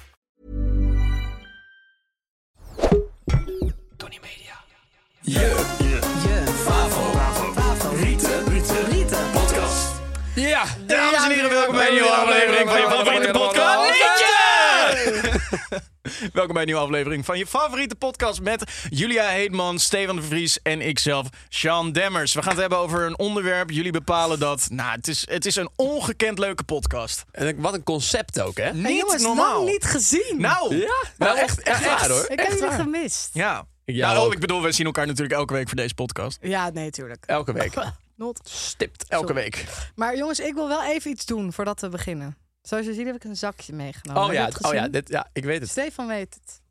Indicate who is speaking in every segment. Speaker 1: Tony Media. Ja, dames en heren, welkom bij een nieuwe aflevering van je favoriete podcast. Liedje! Welkom bij een nieuwe aflevering van je favoriete podcast met Julia Heetman, Stefan de Vries en ikzelf, Sean Demmers. We gaan het hebben over een onderwerp. Jullie bepalen dat. Nou, het is, het is een ongekend leuke podcast.
Speaker 2: En ik- wat een concept ook, hè?
Speaker 1: Niet
Speaker 3: jongens,
Speaker 1: normaal.
Speaker 3: lang niet gezien.
Speaker 1: Nou,
Speaker 2: Ja, nou echt, echt waar hoor.
Speaker 3: ik heb jullie gemist.
Speaker 1: ja.
Speaker 2: Ja,
Speaker 1: nou,
Speaker 2: ook.
Speaker 1: ik bedoel, we zien elkaar natuurlijk elke week voor deze podcast.
Speaker 3: Ja, nee, tuurlijk.
Speaker 2: Elke week.
Speaker 3: Not.
Speaker 2: Stipt, elke
Speaker 3: Sorry.
Speaker 2: week.
Speaker 3: Maar jongens, ik wil wel even iets doen voordat we beginnen. Zoals je ziet heb ik een zakje meegenomen.
Speaker 2: Oh ja,
Speaker 3: Heb je het
Speaker 2: oh ja,
Speaker 3: gezien?
Speaker 2: dit, ja, ik weet het.
Speaker 3: Stefan weet het.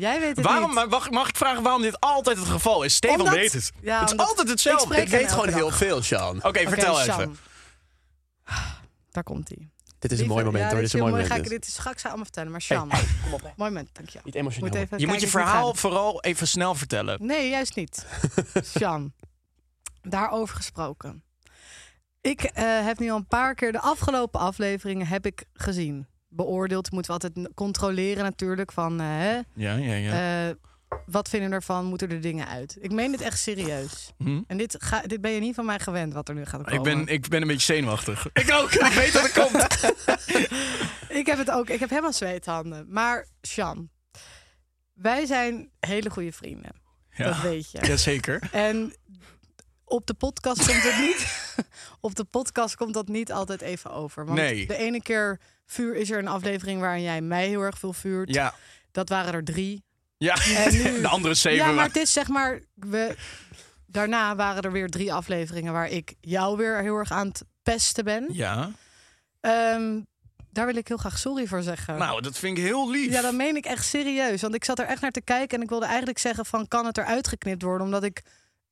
Speaker 3: Jij weet het
Speaker 1: Waarom,
Speaker 3: niet.
Speaker 1: maar wacht, mag ik vragen waarom dit altijd het geval is? Stefan
Speaker 3: Omdat-
Speaker 1: weet het.
Speaker 3: Ja,
Speaker 1: het is
Speaker 3: omdat-
Speaker 1: altijd
Speaker 3: ik
Speaker 1: hetzelfde.
Speaker 3: spreek
Speaker 1: Oké,
Speaker 2: Ik weet gewoon
Speaker 3: elke
Speaker 2: heel
Speaker 3: dag.
Speaker 2: veel, Sean.
Speaker 1: vertel
Speaker 3: Oké, Sam.
Speaker 1: even.
Speaker 3: Daar komt hij.
Speaker 2: Dit is een mooi moment
Speaker 3: ja,
Speaker 2: hoor. Dit is een mooi moment.
Speaker 3: Ga ik dit straks allemaal vertellen, maar Sham.
Speaker 2: kom op.
Speaker 3: Mooi moment, dankjewel.
Speaker 2: Niet emotioneel.
Speaker 3: Moet even
Speaker 1: Je moet
Speaker 3: kijken
Speaker 1: je
Speaker 3: wie het
Speaker 1: verhaal
Speaker 3: gaat.
Speaker 1: vooral even snel vertellen.
Speaker 3: Nee, juist niet. Sjan, daarover gesproken. Ik eh, heb nu al een paar keer de afgelopen afleveringen heb ik gezien. Beoordeeld moeten we altijd n- controleren natuurlijk van eh, hè,
Speaker 1: Ja, ja, ja.
Speaker 3: eh, wat vinden we ervan, moeten er dingen uit. Ik meen dit echt serieus. En dit, ga, dit ben je niet van mij gewend wat er nu gaat komen.
Speaker 1: Hmm? ik, ben, ik ben een beetje zenuwachtig.
Speaker 2: Ik ook. Ik weet dat het komt.
Speaker 3: Ik heb het ook. Ik heb helemaal zweethanden. Maar Sjan, wij zijn hele goede vrienden.
Speaker 1: Ja.
Speaker 3: Dat weet je.
Speaker 1: Jazeker.
Speaker 3: En op de podcast komt het niet. op de podcast komt dat niet altijd even over. Want
Speaker 1: Nee.
Speaker 3: de ene keer vuur is er een aflevering waarin jij mij heel erg veel vuurt.
Speaker 1: Ja.
Speaker 3: Dat waren er drie.
Speaker 1: ja.
Speaker 3: En Eh, nu-
Speaker 1: De andere zeven.
Speaker 3: Ja, maar
Speaker 1: wa-
Speaker 3: het is zeg maar. We... Daarna waren er weer drie afleveringen waar ik jou weer heel erg aan het pesten ben.
Speaker 1: Ja.
Speaker 3: Ehm, daar wil ik heel graag sorry voor zeggen.
Speaker 1: Nou, dat vind ik heel lief.
Speaker 3: Ja, dat meen ik echt serieus. Want ik zat er echt naar te kijken en ik wilde eigenlijk zeggen van kan het eruit geknipt worden? Omdat ik,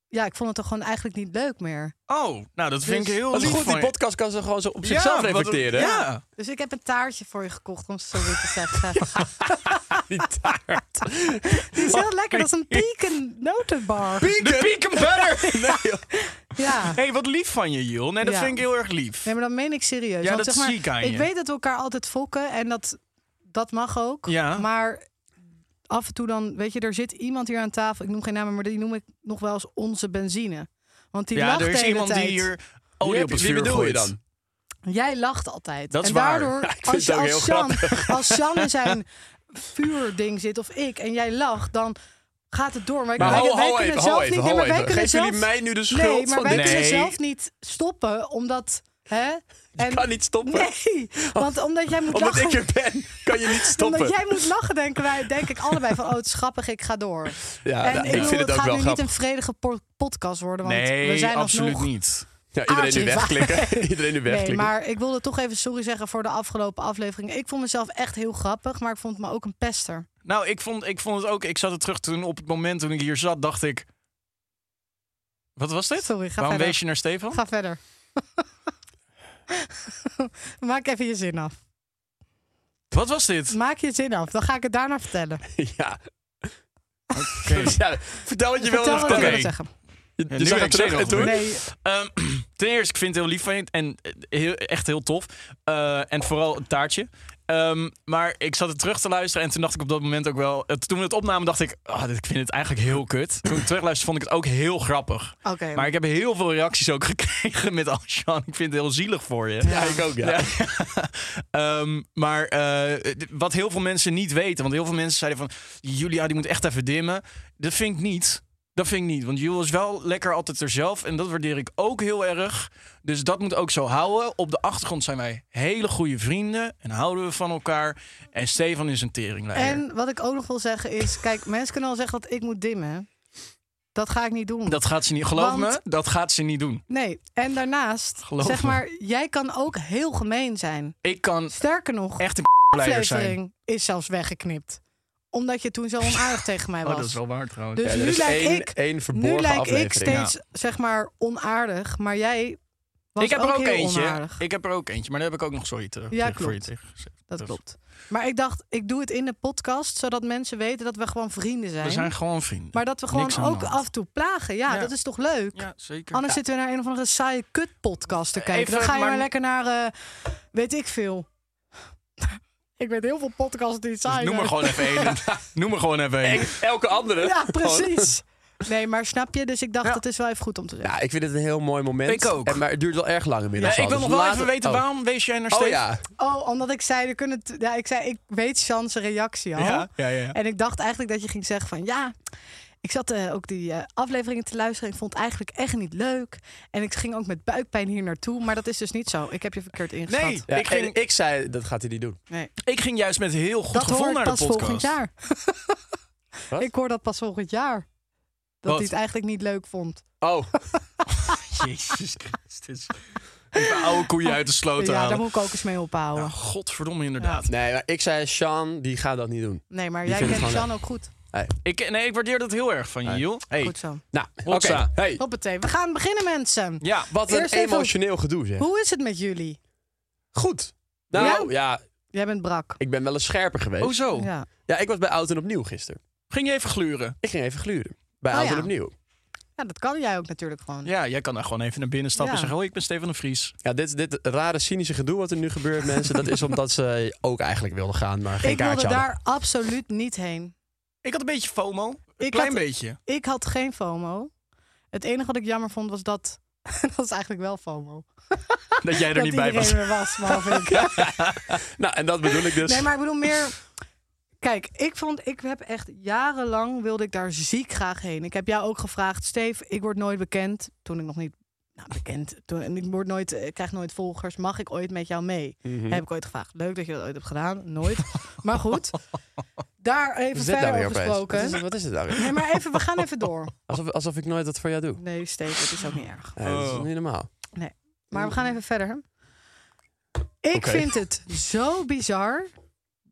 Speaker 3: ja, ik vond het toch gewoon eigenlijk niet leuk meer.
Speaker 1: Oh, nou, dat vind
Speaker 3: Dus-
Speaker 1: ik heel
Speaker 2: Wat
Speaker 1: lief.
Speaker 2: goed, die
Speaker 1: van je.
Speaker 2: podcast kan ze gewoon zo op
Speaker 1: Ja,
Speaker 2: zichzelf
Speaker 1: wat-
Speaker 2: reflecteren. hè?
Speaker 1: Ja.
Speaker 3: Dus ik heb een taartje voor je gekocht om sorry te zeggen.
Speaker 2: Die taart.
Speaker 3: Die is heel lekker, dat is een pieken notenbar.
Speaker 1: De pieken better.
Speaker 2: Nee, joh.
Speaker 3: Ja.
Speaker 1: Hé, hey, wat lief van je, Jill. Nee, dat
Speaker 3: Ja.
Speaker 1: vind ik heel erg lief.
Speaker 3: Nee, maar dat meen ik serieus.
Speaker 1: Ja,
Speaker 3: want
Speaker 1: dat
Speaker 3: zeg maar,
Speaker 1: zie ik aan
Speaker 3: Ik
Speaker 1: je.
Speaker 3: weet dat we elkaar altijd fokken en dat, dat mag ook.
Speaker 1: Ja.
Speaker 3: Maar af en toe dan, weet je, er zit iemand hier aan tafel. Ik noem geen namen, maar die noem ik nog wel eens onze benzine. Want die
Speaker 1: ja,
Speaker 3: lacht
Speaker 1: er
Speaker 3: de
Speaker 1: is
Speaker 3: hele
Speaker 1: iemand
Speaker 3: tijd.
Speaker 1: die hier
Speaker 2: Wie
Speaker 1: olie
Speaker 2: heb-
Speaker 1: op het
Speaker 2: wie
Speaker 1: vuur
Speaker 2: bedoel
Speaker 1: gooit.
Speaker 2: je dan?
Speaker 3: Jij lacht altijd.
Speaker 1: Dat is
Speaker 3: en
Speaker 1: waar.
Speaker 3: daardoor,
Speaker 2: Ja, ik vind
Speaker 3: als, je-
Speaker 2: het ook
Speaker 3: als,
Speaker 2: heel
Speaker 3: Sjan, als Sjan in zijn vuurding zit of ik en jij lacht, dan gaat het door. Maar,
Speaker 2: Maar
Speaker 3: wij,
Speaker 2: ho,
Speaker 3: wij
Speaker 2: ho
Speaker 3: kunnen
Speaker 2: even,
Speaker 3: zelf
Speaker 2: ho even,
Speaker 3: niet.
Speaker 2: ho
Speaker 3: nee, maar wij
Speaker 2: even.
Speaker 3: kunnen
Speaker 2: Geef
Speaker 3: zelf,
Speaker 2: jullie mij nu de schuld
Speaker 3: Nee, maar
Speaker 2: van
Speaker 3: wij
Speaker 1: dit?
Speaker 3: kunnen
Speaker 1: Nee.
Speaker 3: zelf niet stoppen, omdat... Hè, en,
Speaker 2: Kan niet stoppen.
Speaker 3: Nee, want omdat jij moet
Speaker 2: Omdat
Speaker 3: lachen...
Speaker 2: ik er ben, kan je niet stoppen.
Speaker 3: Omdat jij moet lachen, denken wij, denk ik allebei van, oh, het is grappig, ik ga door.
Speaker 2: Ja,
Speaker 3: en
Speaker 2: nou,
Speaker 3: ik, bedoel,
Speaker 2: vind het ook
Speaker 3: gaat
Speaker 2: wel
Speaker 3: nu niet
Speaker 2: grappig.
Speaker 3: een vredige po- podcast worden, want we
Speaker 1: Nee,
Speaker 3: zijn
Speaker 1: absoluut
Speaker 3: alsnog
Speaker 1: niet.
Speaker 2: Ja, iedereen nu
Speaker 3: aardig.
Speaker 2: wegklikken. Iedereen nu
Speaker 3: Nee,
Speaker 2: wegklikken.
Speaker 3: maar ik wilde toch even sorry zeggen voor de afgelopen aflevering. Ik vond mezelf echt heel grappig, maar ik vond me ook een pester.
Speaker 1: Nou, ik vond, ik vond het ook. Ik zat er terug toen op het moment toen ik hier zat, dacht ik. Wat was dit?
Speaker 3: Sorry, ga
Speaker 1: Waarom
Speaker 3: verder.
Speaker 1: wees je naar Stefan?
Speaker 3: Ga verder. Maak even je zin af.
Speaker 1: Wat was dit?
Speaker 3: Maak je zin af, dan ga ik het daarna vertellen.
Speaker 2: Ja.
Speaker 1: Oké.
Speaker 2: ja, vertel wat je
Speaker 3: Vertel
Speaker 2: wilde
Speaker 3: wat ik
Speaker 1: Oké.
Speaker 2: vertellen.
Speaker 3: wilde zeggen.
Speaker 2: Je,
Speaker 1: Ja,
Speaker 2: je
Speaker 1: nu
Speaker 2: zag
Speaker 1: ben
Speaker 2: het
Speaker 1: ik
Speaker 2: terug en
Speaker 1: zenuwachtig.
Speaker 2: toen?
Speaker 3: Nee,
Speaker 1: Ehm, ten eerste, ik vind het heel lief van je en eh, heel, echt heel tof. Eh, en vooral het taartje. Ehm, Ehm, maar ik zat het terug te luisteren en toen dacht ik op dat moment ook wel... het- toen we het opnamen dacht ik, ah, dit- ik vind het eigenlijk heel kut. Toen ik het terugluisterde vond ik het ook heel grappig.
Speaker 3: Oké.
Speaker 1: Maar ik heb heel veel reacties ook gekregen met al Sean. Ik vind het heel zielig voor je.
Speaker 2: Ja, ik ook, ja.
Speaker 1: Ehm, maar eh, d- wat heel veel mensen niet weten, want heel veel mensen zeiden van Julia die moet echt even dimmen. Dat vind ik niet. Dat vind ik niet, want Julia is wel lekker altijd er zelf en dat waardeer ik ook heel erg. Dus dat moet ook zo houden. Op de achtergrond zijn wij hele goede vrienden en houden we van elkaar. En Stefan is een teringleider.
Speaker 3: En wat ik ook nog wil zeggen is, kijk, mensen kunnen al zeggen dat ik moet dimmen. Dat ga ik niet doen.
Speaker 1: Dat gaat ze niet, geloof
Speaker 3: Want-
Speaker 1: me, dat gaat ze niet doen.
Speaker 3: Nee, en daarnaast,
Speaker 1: Geloof
Speaker 3: zeg
Speaker 1: me.
Speaker 3: maar, jij kan ook heel gemeen zijn.
Speaker 1: Ik kan
Speaker 3: Sterker nog,
Speaker 1: echt een leider zijn.
Speaker 3: aflevering is zelfs weggeknipt. Omdat je toen zo onaardig tegen mij was.
Speaker 1: Oh, dat is wel waar trouwens.
Speaker 3: Dus
Speaker 2: Ja, er
Speaker 3: nu
Speaker 2: is
Speaker 3: lijk
Speaker 2: één-
Speaker 3: ik,
Speaker 2: één verborgen
Speaker 3: nu lijk ik
Speaker 2: aflevering.
Speaker 3: steeds, zeg maar, onaardig. Maar jij was
Speaker 1: ik heb
Speaker 3: ook,
Speaker 1: er ook
Speaker 3: heel
Speaker 1: eentje.
Speaker 3: onaardig.
Speaker 1: Ik heb er ook eentje, maar daar heb ik ook nog sorry terug,
Speaker 3: Ja,
Speaker 1: terug voor je
Speaker 3: klopt.
Speaker 1: tegen gezegd.
Speaker 3: Dat
Speaker 1: Dus
Speaker 3: klopt. Maar ik dacht, ik doe het in de podcast, zodat mensen weten dat we gewoon vrienden zijn.
Speaker 1: We zijn gewoon vrienden.
Speaker 3: Maar dat we
Speaker 1: Niks
Speaker 3: gewoon
Speaker 1: aan de
Speaker 3: ook
Speaker 1: hand.
Speaker 3: af en toe plagen. Ja,
Speaker 1: Ja.
Speaker 3: dat is toch leuk?
Speaker 1: Ja, zeker.
Speaker 3: Anders
Speaker 1: Ja.
Speaker 3: zitten we naar een of andere saaie kut-podcast te
Speaker 1: Even,
Speaker 3: kijken. Dan ga je maar,
Speaker 1: maar-
Speaker 3: lekker naar, eh, weet ik veel. ik weet heel veel podcasts die saai
Speaker 1: Dus noem
Speaker 3: zijn.
Speaker 1: maar gewoon even één. noem maar gewoon even één.
Speaker 2: Elke andere.
Speaker 3: Ja, precies. Nee, maar snap je? Dus ik dacht, het is wel even goed om te zeggen.
Speaker 2: Ja, ik vind het een heel mooi moment.
Speaker 1: Ik ook.
Speaker 2: En, maar het duurt wel erg lang inmiddels.
Speaker 1: Ja, ik
Speaker 2: al,
Speaker 1: wil
Speaker 2: dus
Speaker 1: nog wel
Speaker 2: later-
Speaker 1: even weten,
Speaker 2: oh.
Speaker 1: waarom wees jij naar
Speaker 2: Oh
Speaker 1: Steven?
Speaker 2: ja.
Speaker 3: Oh, omdat ik zei, we kunnen het- ja, ik zei, ik weet Sean's reactie al.
Speaker 1: Ja, ja, ja.
Speaker 3: En ik dacht eigenlijk dat je ging zeggen van, ja, ik zat eh, ook die eh, afleveringen te luisteren. Ik vond het eigenlijk echt niet leuk. En ik ging ook met buikpijn hier naartoe. Maar dat is dus niet zo. Ik heb je verkeerd ingeschat.
Speaker 1: Nee.
Speaker 2: Ja,
Speaker 1: Ik
Speaker 2: ik,
Speaker 1: ging-
Speaker 2: ik zei, dat gaat hij niet doen.
Speaker 3: Nee.
Speaker 1: Ik ging juist met heel goed
Speaker 3: Dat
Speaker 1: gevoel
Speaker 3: hoor ik
Speaker 1: naar
Speaker 3: pas
Speaker 1: de podcast.
Speaker 3: volgend jaar.
Speaker 2: Wat?
Speaker 3: ik hoor dat pas volgend jaar. Dat
Speaker 1: Wat?
Speaker 3: hij het eigenlijk niet leuk vond.
Speaker 2: Oh,
Speaker 1: Jezus Christus. Even oude koeien uit de sloot
Speaker 3: ja, daar
Speaker 1: Oh, halen.
Speaker 3: moet ik ook eens mee ophouden.
Speaker 1: Nou, godverdomme, inderdaad.
Speaker 2: nee, maar ik zei, Sean, die gaat dat niet doen.
Speaker 3: nee, maar
Speaker 2: die
Speaker 3: jij
Speaker 2: vindt
Speaker 3: kent
Speaker 2: het gewoon
Speaker 3: Sean ook goed.
Speaker 1: Ik, nee, ik waardeer dat heel erg van je, joh. Hey.
Speaker 3: Goed zo.
Speaker 2: Nou, oké.
Speaker 1: Hotsa.
Speaker 2: Hey,
Speaker 3: Hoppatee. We gaan beginnen, mensen.
Speaker 1: Ja,
Speaker 2: wat een
Speaker 3: Eerst even-
Speaker 2: emotioneel gedoe zeg.
Speaker 3: Hoe is het met jullie?
Speaker 2: Goed. Nou ja?
Speaker 3: Jij bent brak.
Speaker 2: ik ben wel eens scherper geweest.
Speaker 1: hoezo?
Speaker 3: Ja.
Speaker 2: Ja, ik was bij Oud en Opnieuw gisteren.
Speaker 1: Oh, Ging je even gluren?
Speaker 2: Ik ging even gluren. Bij
Speaker 3: Oh,
Speaker 2: Oud
Speaker 3: ja.
Speaker 2: en Opnieuw.
Speaker 3: ja, Nou, dat kan jij ook natuurlijk gewoon.
Speaker 1: Ja, jij kan daar gewoon even naar binnen stappen en
Speaker 3: Ja.
Speaker 1: zeggen... Hoi, ik ben Steven de Vries.
Speaker 2: Ja, dit, dit rare cynische gedoe wat er nu gebeurt, mensen, dat is omdat ze ook eigenlijk wilden gaan, maar geen
Speaker 3: ik wilde
Speaker 2: kaartje hadden.
Speaker 3: daar absoluut niet heen.
Speaker 1: Ik had een beetje FOMO. Een
Speaker 3: Ik
Speaker 1: klein
Speaker 3: had-
Speaker 1: beetje.
Speaker 3: Ik had geen FOMO. Het enige wat ik jammer vond was dat... dat is eigenlijk wel FOMO.
Speaker 1: Dat jij er
Speaker 3: dat
Speaker 1: niet bij was.
Speaker 3: iedereen er was, behalve ik.
Speaker 2: Nou, en dat bedoel ik dus.
Speaker 3: Nee, maar ik bedoel meer. Kijk, ik vond, ik heb echt jarenlang wilde ik daar ziek graag heen. Ik heb jou ook gevraagd, Steve, ik word nooit bekend. Toen ik nog niet nou, bekend, toen, en ik, word nooit, eh, ik krijg nooit volgers. Mag ik ooit met jou mee?
Speaker 2: Mhm.
Speaker 3: Heb ik ooit gevraagd. Leuk dat je dat ooit hebt gedaan. Nooit. Maar goed, daar even
Speaker 2: Wat is dit nou
Speaker 3: verder
Speaker 2: weer opeens?
Speaker 3: over
Speaker 2: Wat is,
Speaker 3: gesproken.
Speaker 2: het- wat is het nou weer?
Speaker 3: Nee, maar even, we gaan even door.
Speaker 2: Alsof, alsof ik nooit dat voor jou doe.
Speaker 3: Nee, Steve, het is ook niet erg.
Speaker 2: Nee, dat is
Speaker 1: Oh.
Speaker 2: niet normaal.
Speaker 3: Maar we gaan even verder. Ik
Speaker 2: Oké.
Speaker 3: vind het zo bizar.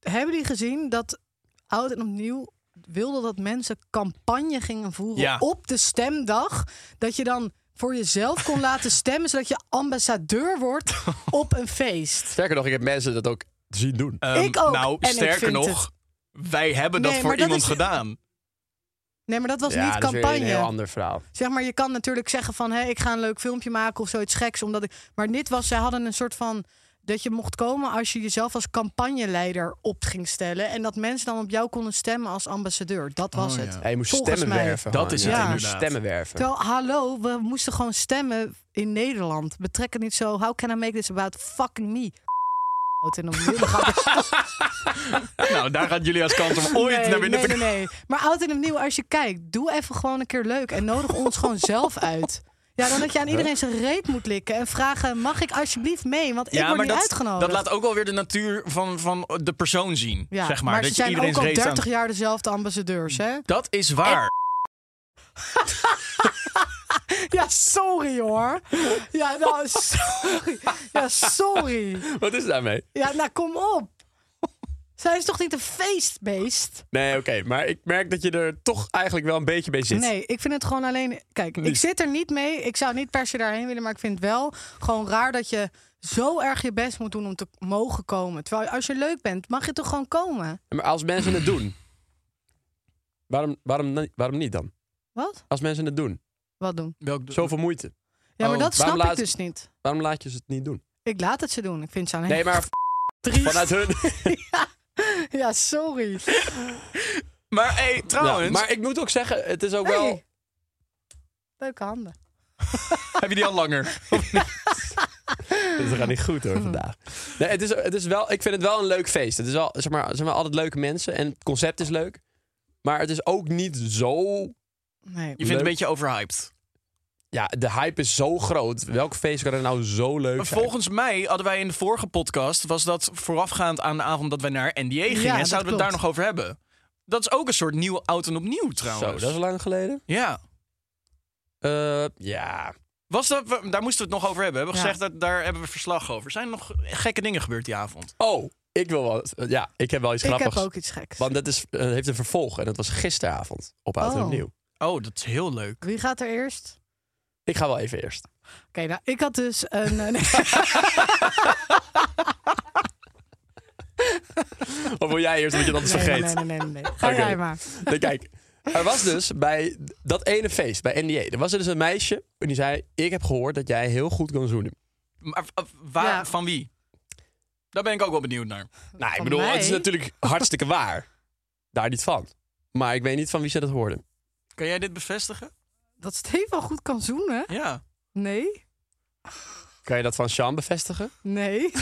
Speaker 3: Hebben jullie gezien dat oud en opnieuw wilde dat mensen campagne gingen voeren
Speaker 1: Ja.
Speaker 3: op de stemdag? Dat je dan voor jezelf kon laten stemmen, zodat je ambassadeur wordt op een feest.
Speaker 2: Sterker nog, ik heb mensen dat ook zien doen.
Speaker 1: Ehm,
Speaker 3: Ik ook.
Speaker 1: Nou,
Speaker 3: En ik
Speaker 1: sterker
Speaker 3: vind
Speaker 1: nog, wij hebben dat
Speaker 3: Nee,
Speaker 1: voor
Speaker 3: maar dat
Speaker 1: iemand
Speaker 3: is-
Speaker 1: gedaan.
Speaker 3: Nee, maar dat was
Speaker 2: ja,
Speaker 3: niet
Speaker 2: dat is weer
Speaker 3: campagne.
Speaker 2: een heel ander verhaal.
Speaker 3: Zeg maar, je kan natuurlijk zeggen van... Hé, ik ga een leuk filmpje maken of zoiets geks. Omdat ik... Maar dit was, zij hadden een soort van... dat je mocht komen als je jezelf als campagneleider op ging stellen. En dat mensen dan op jou konden stemmen als ambassadeur. Dat was
Speaker 1: Oh, ja.
Speaker 3: het.
Speaker 2: Ja, je moest
Speaker 3: Volgens
Speaker 2: stemmen
Speaker 3: mij.
Speaker 2: werven.
Speaker 1: Dat
Speaker 2: gewoon.
Speaker 1: is
Speaker 3: het
Speaker 2: je moest
Speaker 1: inderdaad.
Speaker 2: stemmen werven.
Speaker 3: Terwijl, hallo, we moesten gewoon stemmen in Nederland. Betrek het niet zo. How can I make this about fucking me? En dan
Speaker 1: Nou, daar gaat jullie als kans om ooit
Speaker 3: nee,
Speaker 1: naar binnen
Speaker 3: nee,
Speaker 1: te
Speaker 3: nee, nee. Maar oud en opnieuw, als je kijkt, doe even gewoon een keer leuk en nodig ons gewoon zelf uit. Ja, dan dat je aan iedereen zijn reet moet likken en vragen: mag ik alsjeblieft mee? Want ik word niet
Speaker 1: dat,
Speaker 3: uitgenodigd.
Speaker 1: dat laat ook alweer de natuur van, van de persoon zien.
Speaker 3: ja,
Speaker 1: zeg maar,
Speaker 3: maar
Speaker 1: dat
Speaker 3: ze
Speaker 1: je
Speaker 3: zijn
Speaker 1: iedereen
Speaker 3: ook al 30
Speaker 1: aan...
Speaker 3: jaar dezelfde ambassadeurs, hè?
Speaker 1: Dat is waar.
Speaker 3: Ja, sorry hoor. Ja, nou, sorry. Ja, sorry.
Speaker 2: Wat is daarmee?
Speaker 3: Ja, nou, kom op. Zij is toch niet een feestbeest?
Speaker 2: Nee, oké. maar ik merk dat je er toch eigenlijk wel een beetje bij zit.
Speaker 3: Nee, ik vind het gewoon alleen. Kijk, ik zit er niet mee. Ik zou niet per se daarheen willen, maar ik vind het wel gewoon raar dat je zo erg je best moet doen om te mogen komen. Terwijl als je leuk bent, mag je toch gewoon komen?
Speaker 2: Maar als mensen het doen, waarom, waarom, waarom niet dan?
Speaker 3: Wat?
Speaker 2: Als mensen het doen,
Speaker 3: Wat doen?
Speaker 1: Welk de-
Speaker 2: zoveel moeite.
Speaker 3: Ja, maar
Speaker 1: Oh,
Speaker 3: dat snap
Speaker 2: waarom
Speaker 3: ik
Speaker 2: laat-
Speaker 3: dus niet.
Speaker 2: Waarom laat je ze het niet doen?
Speaker 3: Ik laat het ze doen. Ik vind ze aan
Speaker 2: Nee, maar
Speaker 3: Triest.
Speaker 2: Vanuit hun.
Speaker 3: Ja, sorry.
Speaker 1: Maar hey, trouwens,
Speaker 2: Ja, maar ik moet ook zeggen, het is ook wel...
Speaker 3: Hey. Leuke handen.
Speaker 1: heb je die al langer?
Speaker 2: Het gaat niet goed hoor vandaag. Hmm. Nee, het is, het is wel, ik vind het wel een leuk feest. Het is wel, zeg maar, zeg maar, altijd leuke mensen en het concept is leuk. Maar het is ook niet zo...
Speaker 3: Nee.
Speaker 1: Je vindt het
Speaker 2: Leuk.
Speaker 1: een beetje overhyped.
Speaker 2: Ja, de hype is zo groot. Welk feest kan er nou zo leuk zijn?
Speaker 1: Volgens mij hadden wij in de vorige podcast, was dat voorafgaand aan de avond dat wij naar NDA gingen.
Speaker 3: Ja,
Speaker 1: en
Speaker 3: dat
Speaker 1: zouden we het daar
Speaker 3: klopt.
Speaker 1: nog over hebben. Dat is ook een soort nieuw oud en opnieuw
Speaker 2: Zo,
Speaker 1: trouwens.
Speaker 2: dat is lang geleden.
Speaker 1: Ja.
Speaker 2: Eh, ja,
Speaker 1: Was dat, we- daar moesten we het nog over hebben. We hebben
Speaker 3: Ja.
Speaker 1: gezegd, dat, daar hebben we verslag over. Zijn er nog gekke dingen gebeurd die avond?
Speaker 2: Oh, ik wil wat. Ja, ik heb wel iets
Speaker 3: Ik
Speaker 2: grappigs.
Speaker 3: heb ook iets geks.
Speaker 2: Want dat is, eh, heeft een vervolg en dat was gisteravond op Oud en
Speaker 3: Oh.
Speaker 2: Opnieuw.
Speaker 1: Oh, dat is heel leuk.
Speaker 3: Wie gaat er eerst?
Speaker 2: Ik ga wel even eerst.
Speaker 3: Oké, nou, ik had dus een... eh, nee.
Speaker 2: Of wil jij eerst, want je dat is
Speaker 3: Nee,
Speaker 2: vergeet.
Speaker 3: Nee, nee, nee, nee. nee. Ga
Speaker 2: Oké.
Speaker 3: jij maar.
Speaker 2: Nee, Nou, kijk, er was dus bij dat ene feest, bij NDA, er was er dus een meisje en die zei, ik heb gehoord dat jij heel goed kan zoenen.
Speaker 1: Maar eh, waar,
Speaker 3: Ja.
Speaker 1: van wie? Daar ben ik ook wel benieuwd naar.
Speaker 2: Nou, ik
Speaker 3: Van
Speaker 2: bedoel, het is
Speaker 3: mij?
Speaker 2: natuurlijk hartstikke waar. Daar niet van. Maar ik weet niet van wie ze dat hoorden.
Speaker 1: Kan jij dit bevestigen?
Speaker 3: Dat Stefan goed kan zoenen?
Speaker 1: Ja.
Speaker 3: Nee.
Speaker 2: Kan je dat van Sean bevestigen?
Speaker 3: Nee.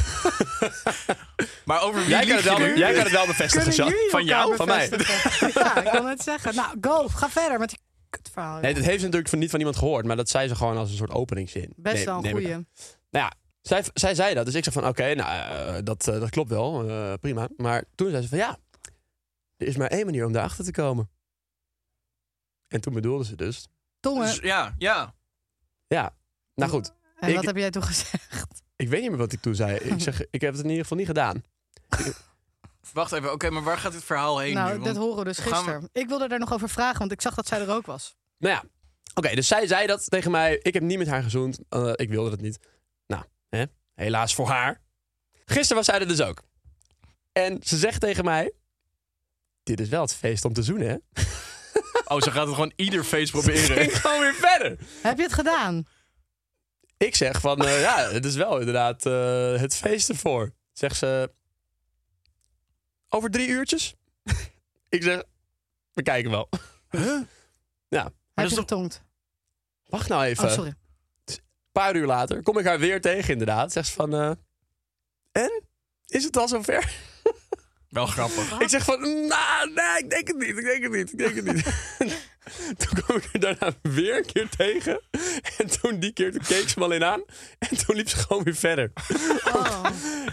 Speaker 1: Maar over wie
Speaker 2: Jij kan,
Speaker 1: lieg
Speaker 2: het
Speaker 1: je
Speaker 2: wel,
Speaker 1: nu?
Speaker 2: jij kan het wel bevestigen,
Speaker 3: Kunnen
Speaker 2: Sean.
Speaker 3: jullie
Speaker 1: van
Speaker 3: elkaar
Speaker 1: jou?
Speaker 2: Van mij.
Speaker 3: bevestigen? Ja, ik kan het zeggen. Nou, go. Ga verder met die kutverhaal.
Speaker 2: Nee, dat heeft ze natuurlijk van, niet van iemand gehoord, maar dat zei ze gewoon als een soort openingszin.
Speaker 3: Best
Speaker 2: Nee,
Speaker 3: wel een
Speaker 2: neem ik
Speaker 3: goeie.
Speaker 2: Nou ja, zij, zij zei dat. Dus ik zeg van, oké, nou, eh, dat, eh, dat klopt wel. eh, prima. Maar toen zei ze van, ja, er is maar één manier om daarachter te komen. En toen bedoelde ze dus,
Speaker 1: Dus
Speaker 3: Tongen.
Speaker 1: ja, ja.
Speaker 2: ja, nou goed.
Speaker 3: En
Speaker 2: ik-
Speaker 3: eh, wat heb jij toen gezegd?
Speaker 2: Ik weet niet meer wat ik toen zei. Ik zeg, ik heb het in ieder geval niet gedaan.
Speaker 1: Wacht even, oké, maar waar gaat dit verhaal heen
Speaker 3: nou,
Speaker 1: nu?
Speaker 3: dat
Speaker 1: Want-
Speaker 3: horen we dus
Speaker 1: gaan we-
Speaker 3: gisteren. Ik wilde daar nog over vragen, want ik zag dat zij er ook was.
Speaker 2: Nou ja, oké, dus zij zei dat tegen mij. Ik heb niet met haar gezoend. eh, ik wilde dat niet. Nou, hè, helaas voor haar. Gisteren was zij er dus ook. En ze zegt tegen mij, dit is wel het feest om te zoenen, hè?
Speaker 1: Oh, ze gaat het gewoon ieder feest proberen.
Speaker 2: Ging gewoon weer verder.
Speaker 3: Heb je het gedaan?
Speaker 2: Ik zeg van, eh, ja, het is wel inderdaad eh, het feest ervoor. Zegt ze, over drie uurtjes? ik zeg, we kijken wel. Ja, dus
Speaker 3: Heb
Speaker 1: is toch-
Speaker 3: je
Speaker 1: Eh,
Speaker 3: getongd?
Speaker 2: wacht nou even.
Speaker 3: Oh, sorry.
Speaker 2: Een paar uur later kom ik haar weer tegen inderdaad. Zegt ze van, eh, en? Is het al zover?
Speaker 1: Wel grappig.
Speaker 2: Ik zeg van, nou, nee, ik denk het niet, ik denk het niet, ik denk het niet. toen kwam ik er daarna weer een keer tegen. En toen die keer, toen keek ze me alleen aan. En toen liep ze gewoon weer verder.
Speaker 3: Oh.